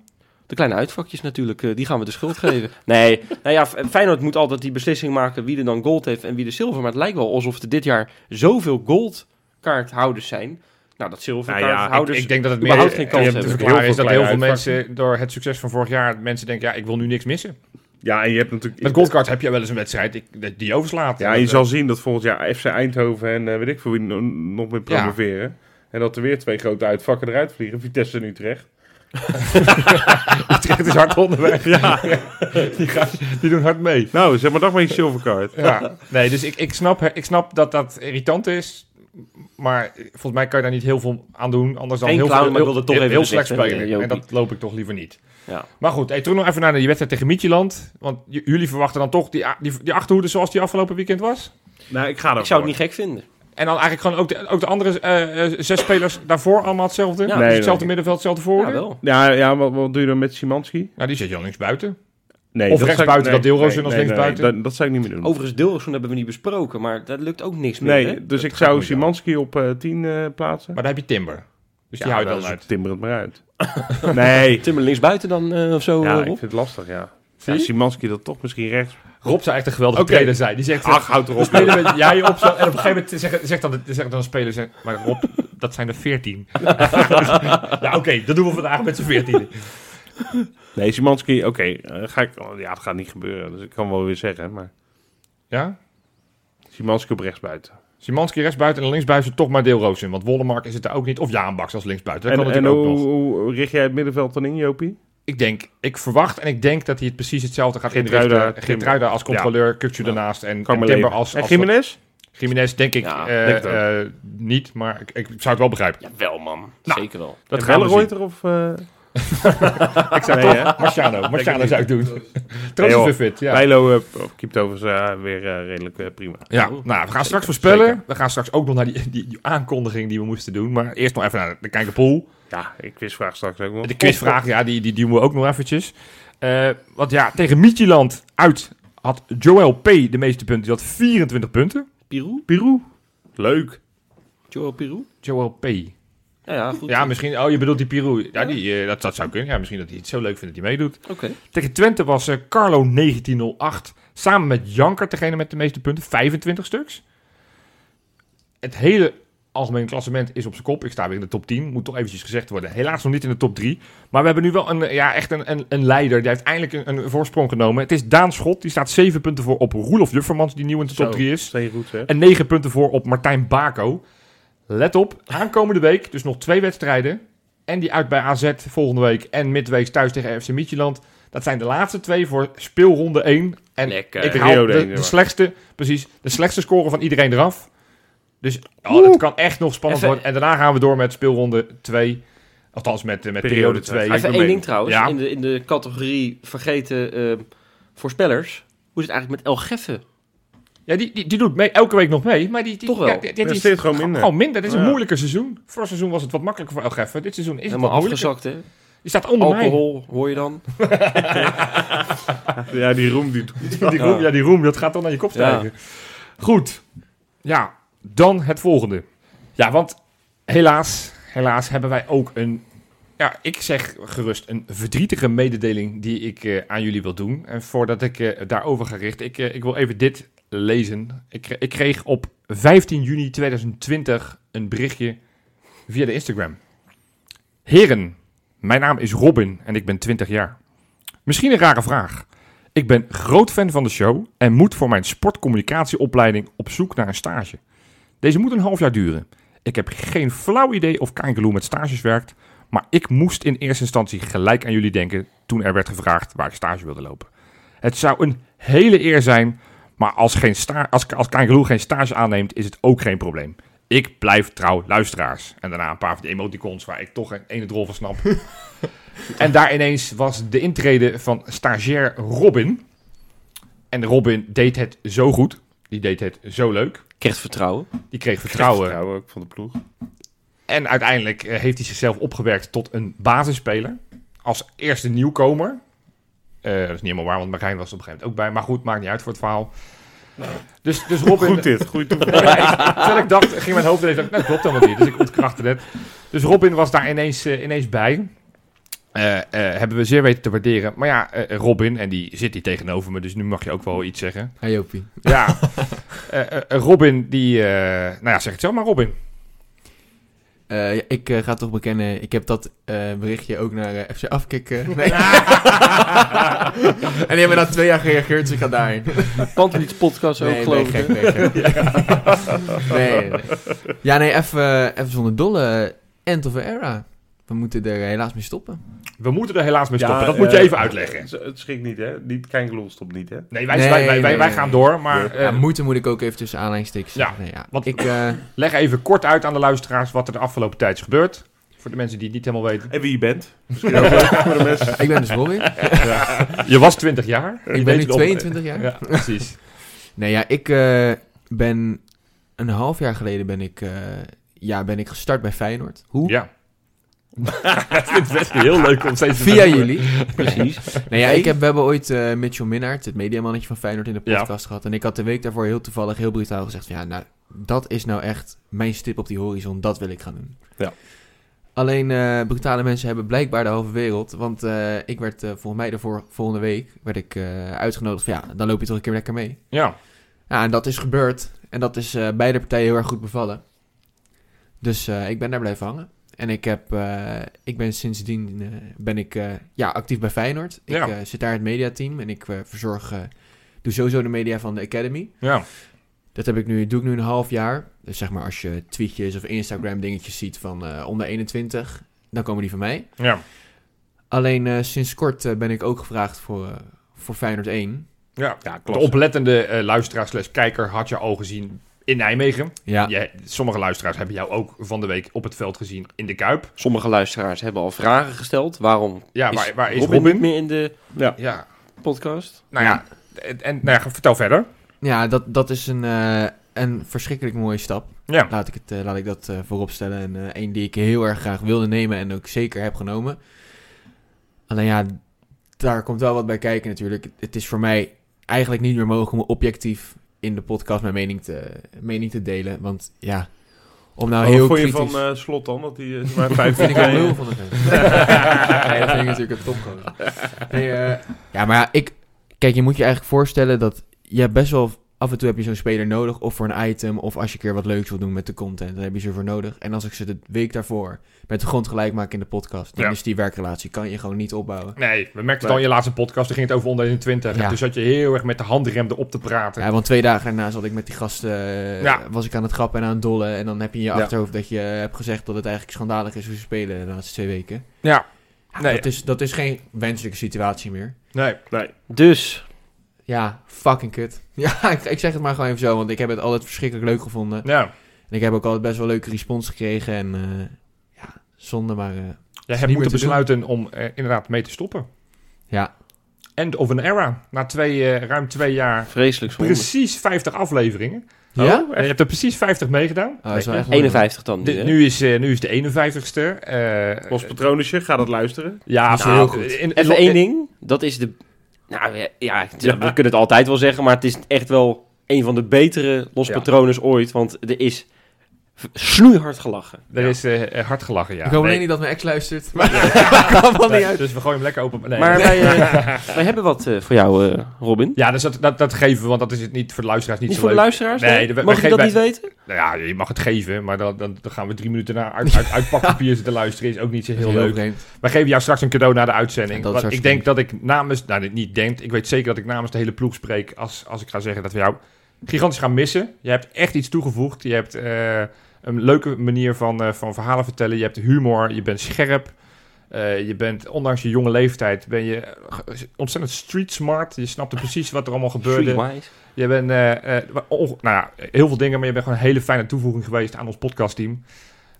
De kleine uitvakjes natuurlijk, eh, die gaan we de schuld geven. Nee, nou ja, F- Feyenoord moet altijd die beslissing maken wie er dan gold heeft en wie de zilver. Maar het lijkt wel alsof er dit jaar zoveel goldkaarthouders zijn. Nou, dat zilverkaarthouders... ik, ik denk dat het meer überhaupt geen kans eh, hebben. te verklaren Heel is dat veel heel veel kleine mensen door het succes van vorig jaar mensen denken, ja, ik wil nu niks missen. Ja, en je hebt natuurlijk... Met goldcards heb je wel eens een wedstrijd ik- die overslaat. Ja, Dat, je eh, zal zien dat volgend jaar FC Eindhoven en eh, weet ik veel wie no- nog meer promoveren. En dat er weer twee grote uitvakken eruit vliegen. Vitesse en Utrecht. Utrecht is hard onderweg. Ja. die, gaan, die doen hard mee. Nou, zeg maar dat maar je silvercard. Ja. Nee, dus ik, ik, snap, ik snap dat dat irritant is. Maar volgens mij kan je daar niet heel veel aan doen. Anders dan Geen heel, clown, veel, maar ik heel, wilde toch heel, even heel slecht gezegd hebben, spelen. En Jopie. dat loop ik toch liever niet. Ja. Maar goed, hey, terug nog even naar die wedstrijd tegen Mietjeland. Want j- jullie verwachten dan toch die, a- die, die achterhoede zoals die afgelopen weekend was? Nou, ik ga ervoor. Ik zou het niet gek vinden. En dan eigenlijk gewoon ook de, ook de andere eh, eh, zes spelers daarvoor allemaal hetzelfde? Ja. dus Nee, hetzelfde nee. middenveld, hetzelfde Ja, voorhoede? wel. Ja, ja wat, wat doe je dan met Simanski? Nou, die zit je al links buiten. Nee, Of rechtsbuiten, zou ik- dat Deelroos en als linksbuiten? dat, dat zou ik niet meer doen. Overigens, Dilrosun hebben we niet besproken, maar dat lukt ook niks meer, hè? nee, dus ik gaat zou niet Simanski op eh 10 eh, plaatsen. Maar daar heb je Timber. Dus die Ja, houdt dan is- uit. Timmer het maar uit. nee. Timmer linksbuiten dan eh, of zo, Ja, eh, ik Rob? vind het lastig, ja. Zie ja je? Simanski dat toch misschien rechts. Rob zou echt een geweldige Oké. trainer zijn. Die zegt, eh, Ach, houd erop. spelen met jij op zo- En op een gegeven moment zegt, zegt, dan, de- zegt dan een speler, zegt, maar Rob, dat zijn er veertien. ja, oké, dat doen we vandaag met z'n veertien. Nee, Simanski, oké. eh, ga ik. oh, ja, dat gaat niet gebeuren. Dus ik kan wel weer zeggen, maar. Ja? Simanski op rechtsbuiten. Simanski rechtsbuiten en linksbuiten toch maar deelroos in. Want Wollemark is het daar ook niet. Of Jaan Baks als linksbuiten. Dat En, kan en natuurlijk hoe, ook nog. hoe richt jij het middenveld dan in, Jopie? Ik denk, ik verwacht en ik denk dat hij het precies hetzelfde gaat Geertruida, inrichten. Timber. Geertruida als controleur, Kukcu daarnaast en, en Carmelo. Timber als... en als Jiménez? Jiménez denk ik Ja, eh, denk het ook. eh, niet, maar ik, ik zou het wel begrijpen. Ja, wel, man. Nou. Zeker wel. Dat gaan we Belleroyter of... eh ik zou nee, hè? Marciano, Marciano niet. zou ik doen. Nee, Trouwens joh. weer fit, ja. Bijlo uh, kiept overigens eh, weer eh, redelijk eh, prima. Ja, Oh. nou, we gaan straks voorspellen. We gaan straks ook nog naar die, die, die aankondiging die we moesten doen. Maar eerst nog even naar de kijkerpool. Ja, ik quizvraag straks ook nog. De quizvraag, ja, die, die doen we ook nog eventjes. Eh, want ja, tegen Mietjeland uit had Joel P. de meeste punten. Die had 24 punten. Pirou? Peru. Leuk. Joel Pirou? Joel P. Ja, ja, goed. Ja, misschien... Oh, je bedoelt die Pirou. Ja, die, eh, dat, dat zou kunnen. Ja, misschien dat hij het zo leuk vindt dat hij meedoet. Oké. Tegen Twente was eh, Carlo 1908. Samen met Janker degene met de meeste punten. 25 stuks. het hele algemeen klassement is op zijn kop. Ik sta weer in de top 10, moet toch eventjes gezegd worden. Helaas nog niet in de top 3. Maar we hebben nu wel een, eh, ja, echt een, een, een leider. Die heeft eindelijk een, een voorsprong genomen. Het is Daan Schot, die staat 7 punten voor op Roelof Juffermans, die nieuw in de top Zo, 3 is. Steen goed, zeg. En 9 punten voor op Martijn Bako. Let op, aankomende week, dus nog twee wedstrijden. En die uit bij AZ volgende week. En midweeks thuis tegen FC Midtjylland. Dat zijn de laatste twee voor speelronde 1. En Lekker. ik haal Periode één, de, zeg de maar. slechtste, precies, de slechtste score van iedereen eraf. Dus oh, dat kan echt nog spannend Even- worden. En daarna gaan we door met speelronde 2. Althans, met, eh, met Periode periode twee. Even 2. Even één mee. ding trouwens. Ja. In, de, in de categorie vergeten ehm, voorspellers. Hoe is het eigenlijk met El Geffen? Ja, die, die, die doet mee, elke week nog mee. Maar die, die, Toch wel. ja, die- die- die Presteert gewoon minder. Gewoon minder. Dit is een Ja. moeilijker seizoen. Vorig seizoen was het wat makkelijker voor Elgeffen. Dit seizoen is het Helemaal wat moeilijker. afgezakt, hè? Die staat onder mij. Alcohol, hoor je dan? Ja, die roem die doet. Die roem, ja, die roem, dat gaat dan naar je kop stijgen. Goed. Ja, dan het volgende. Ja, want helaas, helaas hebben wij ook een... Ja, ik zeg gerust een verdrietige mededeling die ik eh, aan jullie wil doen. En voordat ik eh, daarover ga richten, ik, eh, ik wil even dit lezen. Ik, kre- ik kreeg op 15 juni 2020 een berichtje via de Instagram. Heren, mijn naam is Robin en ik ben 20 jaar. Misschien een rare vraag. Ik ben groot fan van de show en moet voor mijn sportcommunicatieopleiding op zoek naar een stage. Deze moet een half jaar duren. Ik heb geen flauw idee of Kangaloo met stages werkt, maar ik moest in eerste instantie gelijk aan jullie denken toen er werd gevraagd waar ik stage wilde lopen. Het zou een hele eer zijn, maar als, geen sta- als, als Kangaloo geen stage aanneemt, is het ook geen probleem. Ik blijf trouw luisteraars. En daarna een paar van die emoticons waar ik toch een ene drol van snap. En daar ineens was de intrede van stagiair Robin. En Robin deed het zo goed. Die deed het zo leuk. Krijgt vertrouwen. Die kreeg vertrouwen. Trouwen ook van de ploeg. En uiteindelijk eh, heeft hij zichzelf opgewerkt tot een basisspeler. Als eerste nieuwkomer. Eh, dat is niet helemaal waar, want Marijn was er op een gegeven moment ook bij. Maar goed, maakt niet uit voor het verhaal. Dus, dus Robin... Goed dit, goed toeval. Ja, ik- terwijl ik dacht, ging mijn hoofd ineens, dacht ik, nou, dat klopt helemaal niet. Dus ik ontkrachtte het. Dus Robin was daar ineens, eh, ineens bij. Eh, eh, hebben we zeer weten te waarderen. Maar ja, eh, Robin, en die zit hier tegenover me, dus nu mag je ook wel iets zeggen. Hey Jopie. Ja, Eh, eh, Robin, die, eh, nou ja, zeg het zelf maar, Robin. Eh, ja, ik eh, ga toch bekennen, ik heb dat eh, berichtje ook naar eh, FC Afkikken. Nee. en die hebben na twee jaar gereageerd, dus ik ga daarheen. Pantelits podcast ook, nee, geloof nee, ik. gek, nee, gek. nee, nee, nee. Ja, nee, even, even zonder dolle. End of an era. We moeten er eh, helaas mee stoppen. We moeten er helaas mee Ja, stoppen, dat eh, moet je even uitleggen. Het, het schikt niet, hè? Niet, Kangaloo stopt niet, hè? Nee, wij, wij, Nee, wij, wij, nee, wij nee. gaan door, maar eh, ja, moeten moet ik ook even tussen aanleidingstekens Ja, zeggen. Nee, ja. want- ik, eh, leg even kort uit aan de luisteraars wat er de afgelopen tijd is gebeurd. Voor de mensen die het niet helemaal weten. En wie je bent. Misschien ook wel voor de mensen. ik ben dus Robin. Je was 20 jaar. ik ben nu 22 jaar. Ja, precies. Nee, ja, ik eh, ben een half jaar geleden ben ik, eh, ja, ben ik gestart bij Feyenoord. Hoe? Ja. Ik vind het best heel leuk om steeds te Via vertellen. jullie. Precies. Nee, Nou ja, ik heb, we hebben ooit eh, Mitchell Minnaert, het mediamannetje van Feyenoord, in de Ja. podcast gehad. En ik had de week daarvoor heel toevallig, heel brutaal gezegd van, ja, nou, dat is nou echt mijn stip op die horizon. Dat wil ik gaan doen. Ja. Alleen eh, brutale mensen hebben blijkbaar de halve wereld. Want eh, ik werd eh, volgens mij de voor, volgende week werd ik, eh, uitgenodigd van, ja, dan loop je toch een keer lekker mee. Ja. Ja, en dat is gebeurd. En dat is eh, beide partijen heel erg goed bevallen. Dus eh, ik ben daar blijven hangen. En ik, heb, eh, ik ben sindsdien eh, ben ik, eh, ja, actief bij Feyenoord. Ik Ja. eh, zit daar in het mediateam en ik eh, verzorg, eh, doe sowieso de media van de Academy. Ja. Dat heb ik nu, doe ik nu een half jaar. Dus zeg maar als je tweetjes of Instagram dingetjes ziet van eh, onder 21, dan komen die van mij. Ja. Alleen eh, sinds kort eh, ben ik ook gevraagd voor, eh, voor Feyenoord 1. ja. De klasse. oplettende eh, luisteraar slash kijker had je al gezien in Nijmegen. Ja, Je- sommige luisteraars hebben jou ook van de week op het veld gezien in de Kuip. Sommige luisteraars hebben al vragen gesteld. Waarom Ja, is, waar, waar is Robin, Robin? niet meer in de Ja. podcast? Nou ja, en, en nou ja, vertel verder. Ja, dat, dat is een, eh, een verschrikkelijk mooie stap. Ja. Laat ik, het, eh, laat ik dat eh, vooropstellen. En eh één die ik heel erg graag wilde nemen en ook zeker heb genomen. Alleen ja, daar komt wel wat bij kijken natuurlijk. Het is voor mij eigenlijk niet meer mogelijk om objectief in de podcast mijn mening te, mening te delen. Want ja, om nou Wat heel vond je kritisch... van eh, Slot dan? Dat die eh, maar vijf vind ik wel heel jaar van de vent. Nee, dat vind ik natuurlijk een topgozer. Nee, eh, ja, maar ja, ik... Kijk, je moet je eigenlijk voorstellen dat je hebt best wel Af en toe heb je zo'n speler nodig, of voor een item, of als je een keer wat leuks wil doen met de content, dan heb je ze voor nodig. En als ik ze de week daarvoor met de grond gelijk maak in de podcast, dan Ja. is die werkrelatie, kan je gewoon niet opbouwen. Nee, we merkten het al in je laatste podcast. Toen ging het over onder 21. Ja. En toen zat je heel erg met de handrem erop te praten. Ja, want twee dagen daarna zat ik met die gasten, eh, Ja. was ik aan het grappen en aan het dollen. En dan heb je in je Ja. achterhoofd dat je eh, hebt gezegd dat het eigenlijk schandalig is hoe ze spelen de laatste twee weken. Ja. Ja, Nee. dat, is, dat is geen wenselijke situatie meer. Nee. Dus, Ja, fucking kut. Ja, ik, ik zeg het maar gewoon even zo, want ik heb het altijd verschrikkelijk leuk gevonden. Ja. En ik heb ook altijd best wel leuke respons gekregen. En eh, ja, zonde maar. eh, Jij niet hebt meer moeten te doen. besluiten om eh, inderdaad mee te stoppen. Ja. End of an era. Na twee, eh, ruim twee jaar vreselijk zonde. precies 50 afleveringen. Ja? Oh, en je hebt er precies 50 meegedaan. Oh, dat is wel echt 51 dan nu, De- hè? nu, is, eh, nu is de 51ste. eh, Los Patronusje, ga dat luisteren. ja, Dat is nou, heel goed. in- in- Even in- één ding. Dat is de... Nou ja, ja, het- we kunnen het altijd wel zeggen, maar het is echt wel een van de betere Los Ja. Patronus ooit. Want er is v- snoeihard gelachen. Er is eh, hard gelachen, ja. Ik hoop alleen Nee. niet dat mijn ex luistert. Maar kan wel niet Nee, uit. Dus we gooien hem lekker open. Nee. maar Nee. wij, eh, wij hebben wat eh, voor jou, eh, Robin. Ja, dus dat, dat, dat geven we, want dat is het niet voor de luisteraars niet, Niet zo voor de leuk. luisteraars? Nee, Nee, de- we- Mag we je dat geven- niet weten? Nou ja, je mag het geven, maar dan, dan, dan gaan we drie minuten naar uit, uit, uit pakpapier zitten luisteren. Is ook niet zo heel, leuk. vreemd. Wij geven jou straks een cadeau na de uitzending. En dat is Want ik hartstikke denk dat ik namens, nou niet- niet denk, ik weet zeker dat ik namens de hele ploeg spreek als, als ik ga zeggen dat we jou gigantisch gaan missen. Je hebt echt iets toegevoegd. Je hebt eh, een leuke manier van, eh, van verhalen vertellen. Je hebt humor, je bent scherp. Eh, je bent, ondanks je jonge leeftijd, ben je eh, ontzettend street smart. Je snapte precies wat er allemaal gebeurde. Streetwise. Je bent eh, eh, onge- nou ja, heel veel dingen, maar je bent gewoon een hele fijne toevoeging geweest aan ons podcastteam.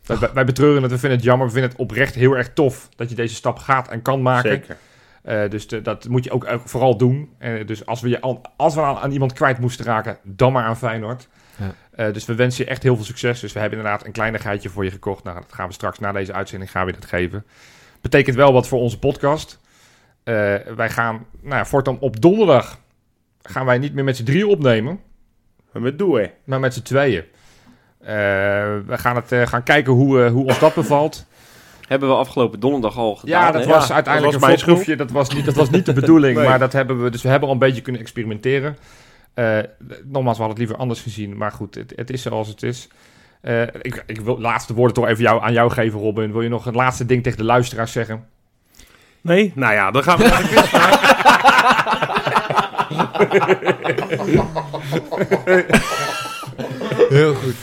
Wij, wij- wij betreuren het, we vinden het jammer, we vinden het oprecht heel erg tof dat je deze stap gaat en kan maken. Zeker. Eh, dus de- dat moet je ook, ook vooral doen. Eh, dus als we, je al- als we aan, aan iemand kwijt moesten raken, dan maar aan Feyenoord. Ja. Eh, dus we wensen je echt heel veel succes. Dus we hebben inderdaad een kleinigheidje voor je gekocht. Nou, dat gaan we straks na deze uitzending gaan we je dat geven. Betekent wel wat voor onze podcast. Eh, wij gaan, nou ja, voortaan op donderdag gaan wij niet meer met z'n drieën opnemen. Maar met doe, Maar met z'n tweeën. Eh, we gaan, het, eh, gaan kijken hoe, eh, hoe ons dat bevalt. Hebben we afgelopen donderdag al gedaan. ja, dat hè? was Ja, uiteindelijk dat was een mijn voorproefje. Dat was niet, dat was niet de bedoeling. Nee. Maar dat hebben we, dus we hebben al een beetje kunnen experimenteren. Eh, nogmaals, we hadden het liever anders gezien. Maar goed, het, het is zoals het is. Eh, ik, ik wil laatste woorden toch even jou, aan jou geven, Robin. Wil je nog het laatste ding tegen de luisteraars zeggen? Nee? Nou ja, dan gaan we naar de quiz. Heel goed.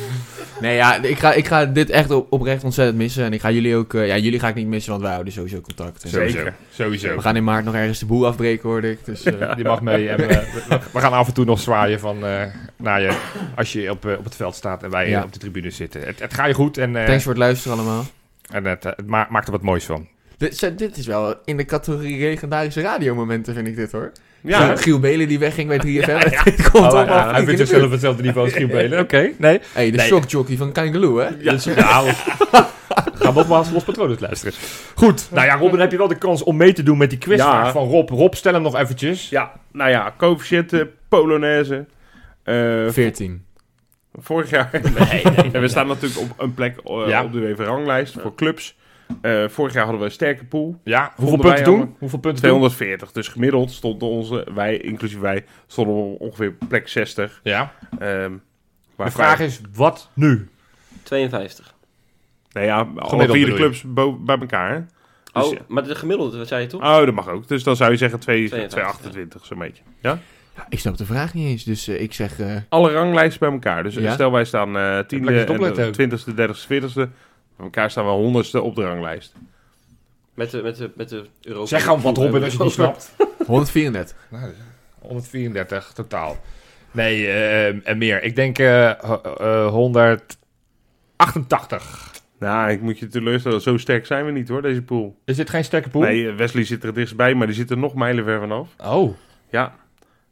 Nee, ja, ik ga, ik ga dit echt op, oprecht ontzettend missen. En ik ga jullie ook... eh, ja, jullie ga ik niet missen, want wij houden sowieso contact. En Zeker. Sowieso. We gaan in maart nog ergens de boel afbreken, hoorde ik. Dus, eh, Die mag mee. En eh, we, we- we gaan af en toe nog zwaaien van, eh, naar je als je op, eh, op het veld staat en wij eh, Ja. op de tribune zitten. Het, het gaat je goed en, eh, Thanks voor het luisteren allemaal. en het, eh, het ma- maakt er wat moois van. Dit, zijn- dit is wel in de categorie legendarische radiomomenten, vind ik dit, hoor. Ja, Zo, hè? Giel Belen die wegging bij 3FM. Dit komt allemaal ja, hij flink vindt in de buurt. zichzelf eh, hetzelfde niveau als Giel Belen. Oké, nee. Hey, de Nee. shockjockey van Kangaloo, hè? Ja. Dus, nou, ga nogmaals los patronen luisteren. Goed, nou ja, Robin, heb je wel de kans om mee te doen met die quizvraag Ja. van Rob. Rob, stel hem nog eventjes. ja, nou ja, coëfficiënten, Polonaise. eh, 14. vorig jaar. Nee, En we staan natuurlijk op een plek eh, Ja. op de UEFA-ranglijst voor clubs. Eh, vorig jaar hadden we een sterke pool. Ja, hoeveel Vonden punten wij doen? allemaal. Hoeveel punten doen? 240. Dus gemiddeld stonden onze, wij, inclusief wij, stonden we op ongeveer plek 60. Ja. Ehm waar De vraag is, wat nu? 52. Nou ja, alle Gemiddeld vier de bedoel je? clubs bo- bij elkaar. Hè? Dus Oh, maar de gemiddelde, wat zei je toch? ja. oh, dat mag ook. Dus dan zou je zeggen 2, 52, 228, zo'n beetje. Ah, Ik snap de vraag niet eens, dus eh, ik zeg... eh, Alle ranglijsten bij elkaar. Dus eh, Ja. stel wij staan eh tiende, lekker en opletten de ook. twintigste, dertigste, veertigste. Bij elkaar staan we honderdste op de ranglijst. Met de, met de, met de Europa. Zeg gewoon wat, Robin, als je het niet snapt. 134. 134 totaal. Nee, eh, en meer. Ik denk eh, eh, eh, 188. Nou, ik moet je teleurstellen. Zo sterk zijn we niet hoor, deze pool. Is dit geen sterke pool? Nee, eh, Wesley zit er dichtstbij, maar die zit er nog mijlenver vanaf. Oh. Ja.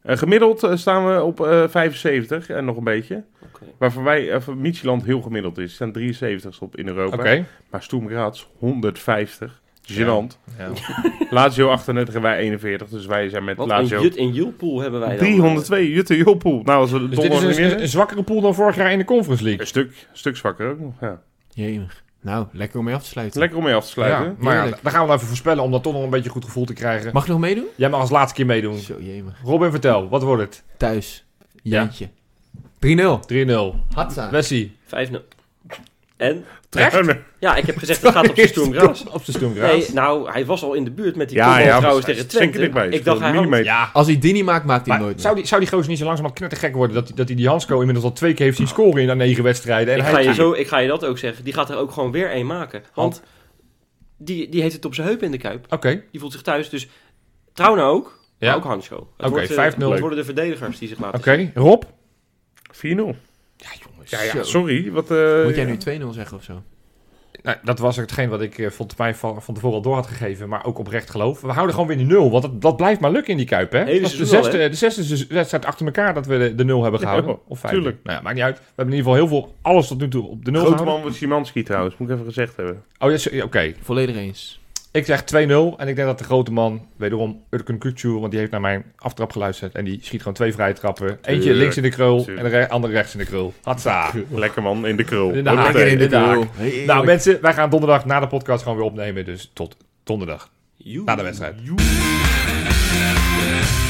Eh, gemiddeld eh, staan we op eh, 75 en nog een beetje. Oké. Waarvan wij, eh, van Michieland heel gemiddeld is. Staan 73 op in Europa. Oké. Maar Stoem Graz 150. Gênant. Ja. Lazio 38 en wij 41. Dus wij zijn met Wat een Lazio Jut en Julpool hebben wij dan. eh, 302. Jutte Joppoel. Nou, als we de Dus dit donderdag is niet een, een winnen. zwakkere pool dan vorig jaar in de Conference League. Een stuk, stuk zwakker ook nog. Ja. Jemig. Nou, lekker om mee af te sluiten. Lekker om mee af te sluiten. Ja, maar ja, Heerlijk. daar gaan we dan even voorspellen om dat toch nog een beetje goed gevoel te krijgen. Mag ik nog meedoen? Jij mag als laatste keer meedoen. Zo, jemig. Robin, vertel, wat wordt het? Thuis. Oh. Ja. Jantje. 3-0. 3-0. Hatsa. Wessie. 5-0. En? Echt? Ja, ik heb gezegd, het gaat op zijn stoemgras. Op zijn stoemgras. Nee, nou, hij was al in de buurt met die Ja, ja, ja, trouwens hij tegen is zeker Twente. dichtbij. Ik dacht, hij had... Millimeter. Ja, Als hij die niet maakt, maakt hij hem maar nooit zou meer. die, zou die gozer niet zo langzamerhand knettergek worden dat hij dat die, die Hansco inmiddels al twee keer heeft zien scoren in aan negen wedstrijden? En Ik hij, ga, je zo, ik ga je dat ook zeggen. Die gaat er ook gewoon weer één maken. Want die, die heeft het op zijn heup in de kuip. Oké, Die voelt zich thuis. Dus trouw nou ook. maar Ja. ook Hansko. Het Oké, wordt, eh, 5-0. Het worden de verdedigers die zich laten oké. Rob? 4-0. Ja, ja, Zo. sorry. Wat, eh, Moet jij nu 2-0 zeggen of zo? Nou, dat was hetgeen wat ik eh, van, mij van, van tevoren al door had gegeven, maar ook oprecht geloof. We houden gewoon weer die nul, want dat, dat blijft maar lukken in die Kuip, hè? Hele Dat is de, seizoen al, zesde, de zesde se- wedstrijd achter elkaar dat we de, de nul hebben Ja, gehouden. joh, of vijfde. tuurlijk. Nou ja, maakt niet uit. We hebben in ieder geval heel veel, alles tot nu toe op de nul Grote gehouden. man wordt Simanski trouwens, moet ik even gezegd hebben. Oh, ja, zo- ja, oké. Volledig eens. Ik zeg 2-0 en ik denk dat de grote man, wederom Urkun Kukcu, want die heeft naar mijn aftrap geluisterd en die schiet gewoon twee vrije trappen. Eentje Tuurlijk, links in de krul tuurlijk. en de re- andere rechts in de krul. Hatsa. Nou, Lekker man, in de krul. In de haak. Hoppatee. in de dag. Heerlijk. Nou mensen, wij gaan donderdag na de podcast gewoon weer opnemen, dus tot donderdag zien. na de wedstrijd. Joe.